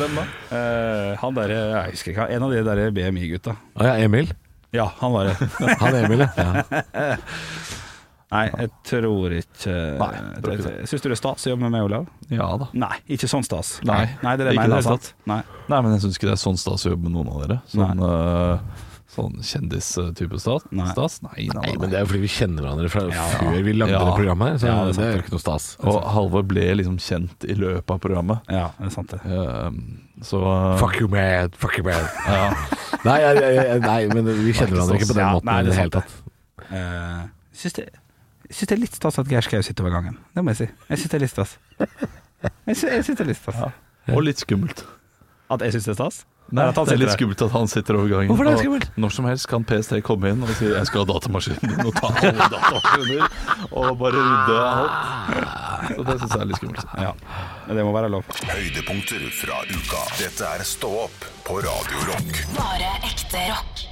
Hvem da?
Eh, han derre Jeg husker ikke, en av de derre BMI-gutta.
Å ja, Emil.
Ja, han var det.
Han er
(laughs)
Emil, ja. ja.
Nei, jeg tror ikke
Nei, jeg tror ikke det.
Syns du det er stas å jobbe med meg, Olav?
Ja da.
Nei, ikke sånn stas.
Nei,
Nei det er det jeg
ikke i
mener.
det hele
Sant? Nei.
Nei, men jeg syns ikke det er sånn stas å jobbe med noen av dere. Sånn, eh, sånn kjendistype stas?
Nei.
stas? Nei, nei,
Nei,
nei,
men det er jo fordi vi kjenner hverandre fra før vi lagde
Ja.
det programmet her, så
Ja, det er
det,
sant,
er jo ikke noe stas.
Og Halvor ble liksom kjent i løpet av programmet.
Ja, det er sant, det.
Eh, så
Fuck you, man. Fuck you, man.
Ja.
Nei, jeg, jeg, jeg, nei, men vi kjenner hverandre ikke på den
Ja,
måten
nei,
i
det er
det hele
sant,
tatt.
Eh, syns det jeg syns det er litt stas at Geir Skau sitter over gangen. Det må jeg si. Jeg syns det er litt stas. Jeg syns, jeg syns det er litt stas.
Og litt skummelt.
At jeg syns det er stas?
Nei,
at han
det er litt
sitter
skummelt at han sitter over gangen.
Hvorfor er det
Og
skummelt?
Når som helst kan PS3 komme inn og si 'jeg skal ha datamaskinen din', og ta alle datamaskiner og bare rydde alt.
Ah.
Så det syns jeg er litt skummelt.
Ja. Det må være lov.
Høydepunkter fra uka. Dette er Stå opp på Radio Rock.
Bare ekte rock.